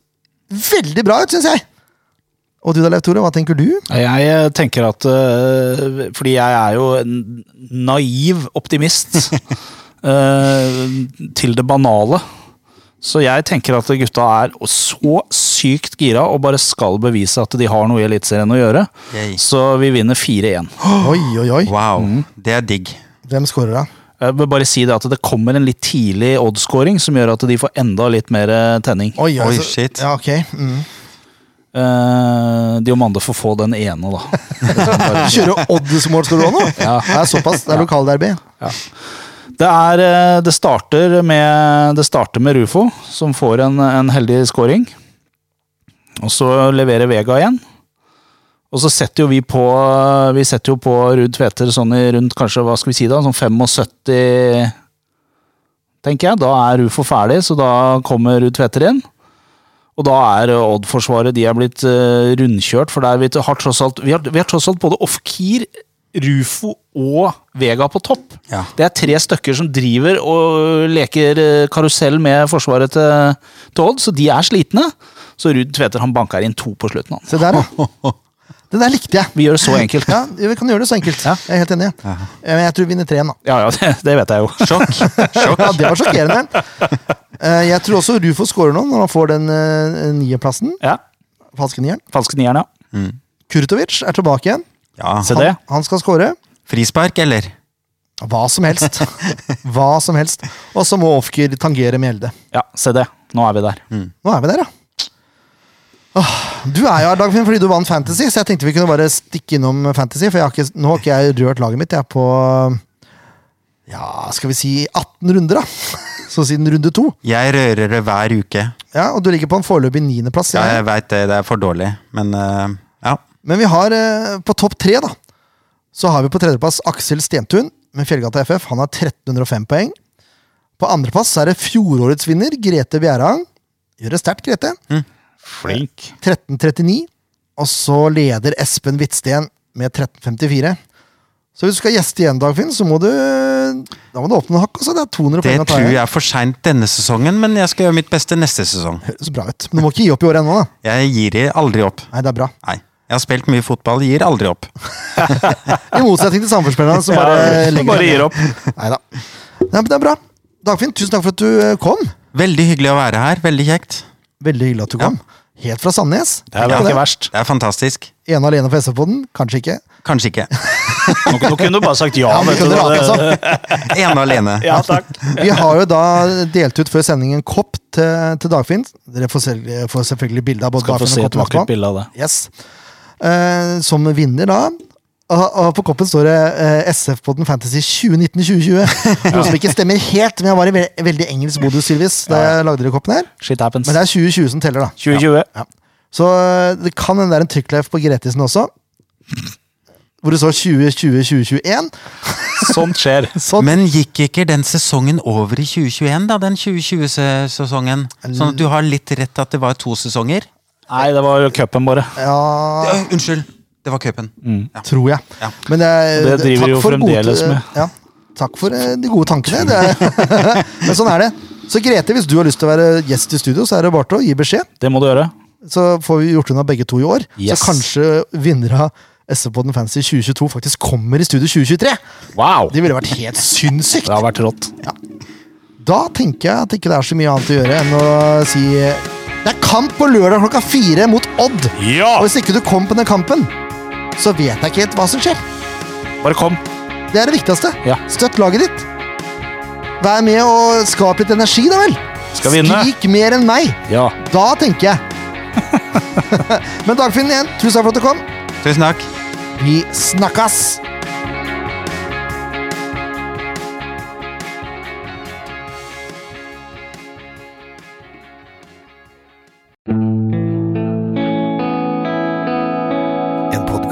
A: veldig bra ut, syns jeg! Og du da, Leif Tore, hva tenker du?
B: Jeg eh, tenker at eh, Fordi jeg er jo en naiv optimist eh, til det banale. Så jeg tenker at gutta er så sykt gira og bare skal bevise at de har noe i Eliteserien å gjøre.
C: Yay.
B: Så vi vinner 4-1.
A: Oi, oi, oi.
C: Wow.
A: Mm.
C: Det er digg.
A: Hvem scorer da?
B: Jeg vil bare si det at det kommer en litt tidlig oddscoring som gjør at de får enda litt mer eh, tenning.
A: Oi, altså,
C: Oi,
A: så-
C: shit.
A: Ja, ok. Mm.
B: Eh, Diomande får få den ene, da. sånn
A: Kjøre oddsmål skal du ha nå?
B: Ja.
A: Det er såpass. Det er lokalderby.
B: Det, er, eh, det, starter med, det starter med Rufo, som får en, en heldig scoring. Og så leverer Vega igjen. Og så setter jo vi på Vi setter jo på Ruud Tveter sånn i rundt kanskje, hva skal vi si da, sånn 75 tenker jeg. Da er Rufo ferdig, så da kommer Ruud Tveter inn. Og da er eh, Odd-forsvaret de er blitt eh, rundkjørt, for der vi t- har tross alt Vi har, vi har tross alt både off-keer, Rufo og Vega på topp.
C: Ja.
B: Det er tre stykker som driver og leker eh, karusell med forsvaret til, til Odd, så de er slitne. Så Ruud Tveter han banker inn to på slutten. Han.
A: Se der, ja. Det der likte jeg.
B: Vi gjør det så enkelt.
A: Ja, Vi kan gjøre det så enkelt. Jeg er helt enig. Eh, Men jeg tror vi vinner 3-1, da.
B: Ja, ja, det, det vet jeg jo.
C: Sjokk.
A: Ja, det var sjokkerende. Eh, Jeg tror også Rufo scorer nå, når han får den eh, niendeplassen.
B: Ja,
A: Falske nieren.
B: Falske nieren, ja.
A: Kurtovic er tilbake igjen.
C: Ja.
B: Se det.
A: Han, han skal score.
C: Frispark, eller?
A: Hva som helst. Hva som helst. Og så må Ofker tangere Mjelde.
B: Ja, se det. Nå er vi der.
A: Nå er vi der, ja. Åh, du er jo her, Dagfinn, fordi du vant Fantasy, så jeg tenkte vi kunne bare stikke innom Fantasy. For jeg har ikke, nå har ikke jeg rørt laget mitt. Jeg er på ja, skal vi si 18 runder, da. Så siden runde to.
C: Jeg rører det hver uke.
A: Ja, og du ligger på en foreløpig niendeplass.
C: Ja,
A: Ja.
C: jeg veit det, det er for dårlig, men eh, ja.
A: Men vi har eh, på topp tre, da, så har vi på tredjeplass Aksel Stentun med Fjellgata FF. Han har 1305 poeng. På andreplass så er det fjorårets vinner, Grete Bjerang. Gjør det sterkt, Grete.
B: Flink.
A: 1339. Og så leder Espen Hvitsten med 1354. Så hvis du skal gjeste igjen, Dagfinn, så må du eh, da må du åpne hakk. Altså. Det er 200
C: Det
A: poeng å ta
C: tror jeg
A: igjen.
C: er for seint denne sesongen, men jeg skal gjøre mitt beste neste sesong.
A: Høres bra ut. Men du må ikke gi opp i år ennå, da.
C: Jeg gir i- aldri opp.
A: Nei, det er bra.
C: Nei. Jeg har spilt mye fotball, gir aldri opp.
A: I motsetning til samfunnsspillerne som bare
B: Ja,
A: legger
B: bare
A: seg ned.
B: gir opp.
A: Neida. Nei men Det er bra. Dagfinn, tusen takk for at du eh, kom.
C: Veldig hyggelig å være her. Veldig kjekt.
A: Veldig hyggelig at du kom. Helt fra Sandnes.
B: Det er
C: Ja,
B: vel ikke verst.
C: Det er fantastisk.
A: Ene alene for SV-podden? Kanskje ikke.
C: Kanskje ikke.
B: Nå, nå kunne du bare sagt ja.
A: Ja, men
B: vet du.
A: kunne rake
B: Det-
A: oss opp.
C: Ene og alene.
B: Ja, takk.
A: Vi har jo da delt ut før sendingen en kopp til, til Dagfinn. Dere får, selv, eh, får selvfølgelig bilde av både
B: Skal få
A: Dagfinn
B: se
A: og
B: et
A: koppen.
B: vakkert
A: etterpå.
B: bilde av det.
A: Yes. Eh, som vinner, da. Og, og på koppen står det eh, SF Podden Fantasy 2019-2020. Noe som ikke stemmer helt, men jeg var i ve veldig engelsk modus, Sylvis, da jeg lagde dere koppen her.
B: Shit happens.
A: Men det er 2020 som teller, da.
B: 2020.
A: Så eh, det kan hende det er en trykkleif på Gretisen også. Hvor det står 2020-2021.
B: Sånt skjer.
A: Sånn.
C: Men gikk ikke den sesongen over i 2021, da? Den 2020-sesongen? Sånn at du har litt rett at det var to sesonger?
B: Nei, det var jo cupen bare.
A: Ja,
C: Ja, unnskyld! Det var cupen. Ja.
A: tror jeg.
C: Ja.
A: Men det, er-
B: Og det driver
A: takk
B: jo
A: for
B: fremdeles
A: gode,
B: med.
A: Ja, takk for eh, de gode tankene. Det er, men sånn er det. Så Grete, hvis du har lyst til å være gjest i studio, så er det bare til å gi beskjed.
B: Det må du gjøre.
A: Så får vi gjort unna begge to i år.
B: Yes.
A: Så kanskje vinnere av SV-podden Fancy 2022 faktisk kommer i studio 2023!
B: Wow!
A: Det ville vært helt sinnssykt!
B: Det har vært rått.
A: Da tenker jeg at ikke det er så mye annet å gjøre enn å si Det er kamp på lørdag klokka fire mot Odd!
B: Ja!
A: Og hvis ikke du kom på den kampen, så vet jeg ikke helt hva som skjer.
B: Bare kom.
A: Det er det viktigste.
B: Ja.
A: Støtt laget ditt. Vær med og skap litt energi, da vel.
B: Skal vinne.
A: Skrik mer enn meg.
B: Ja.
A: Da tenker jeg. Men Dagfinn igjen, tusen takk for at du kom.
C: Tusen takk.
A: Vi snakkes!
E: En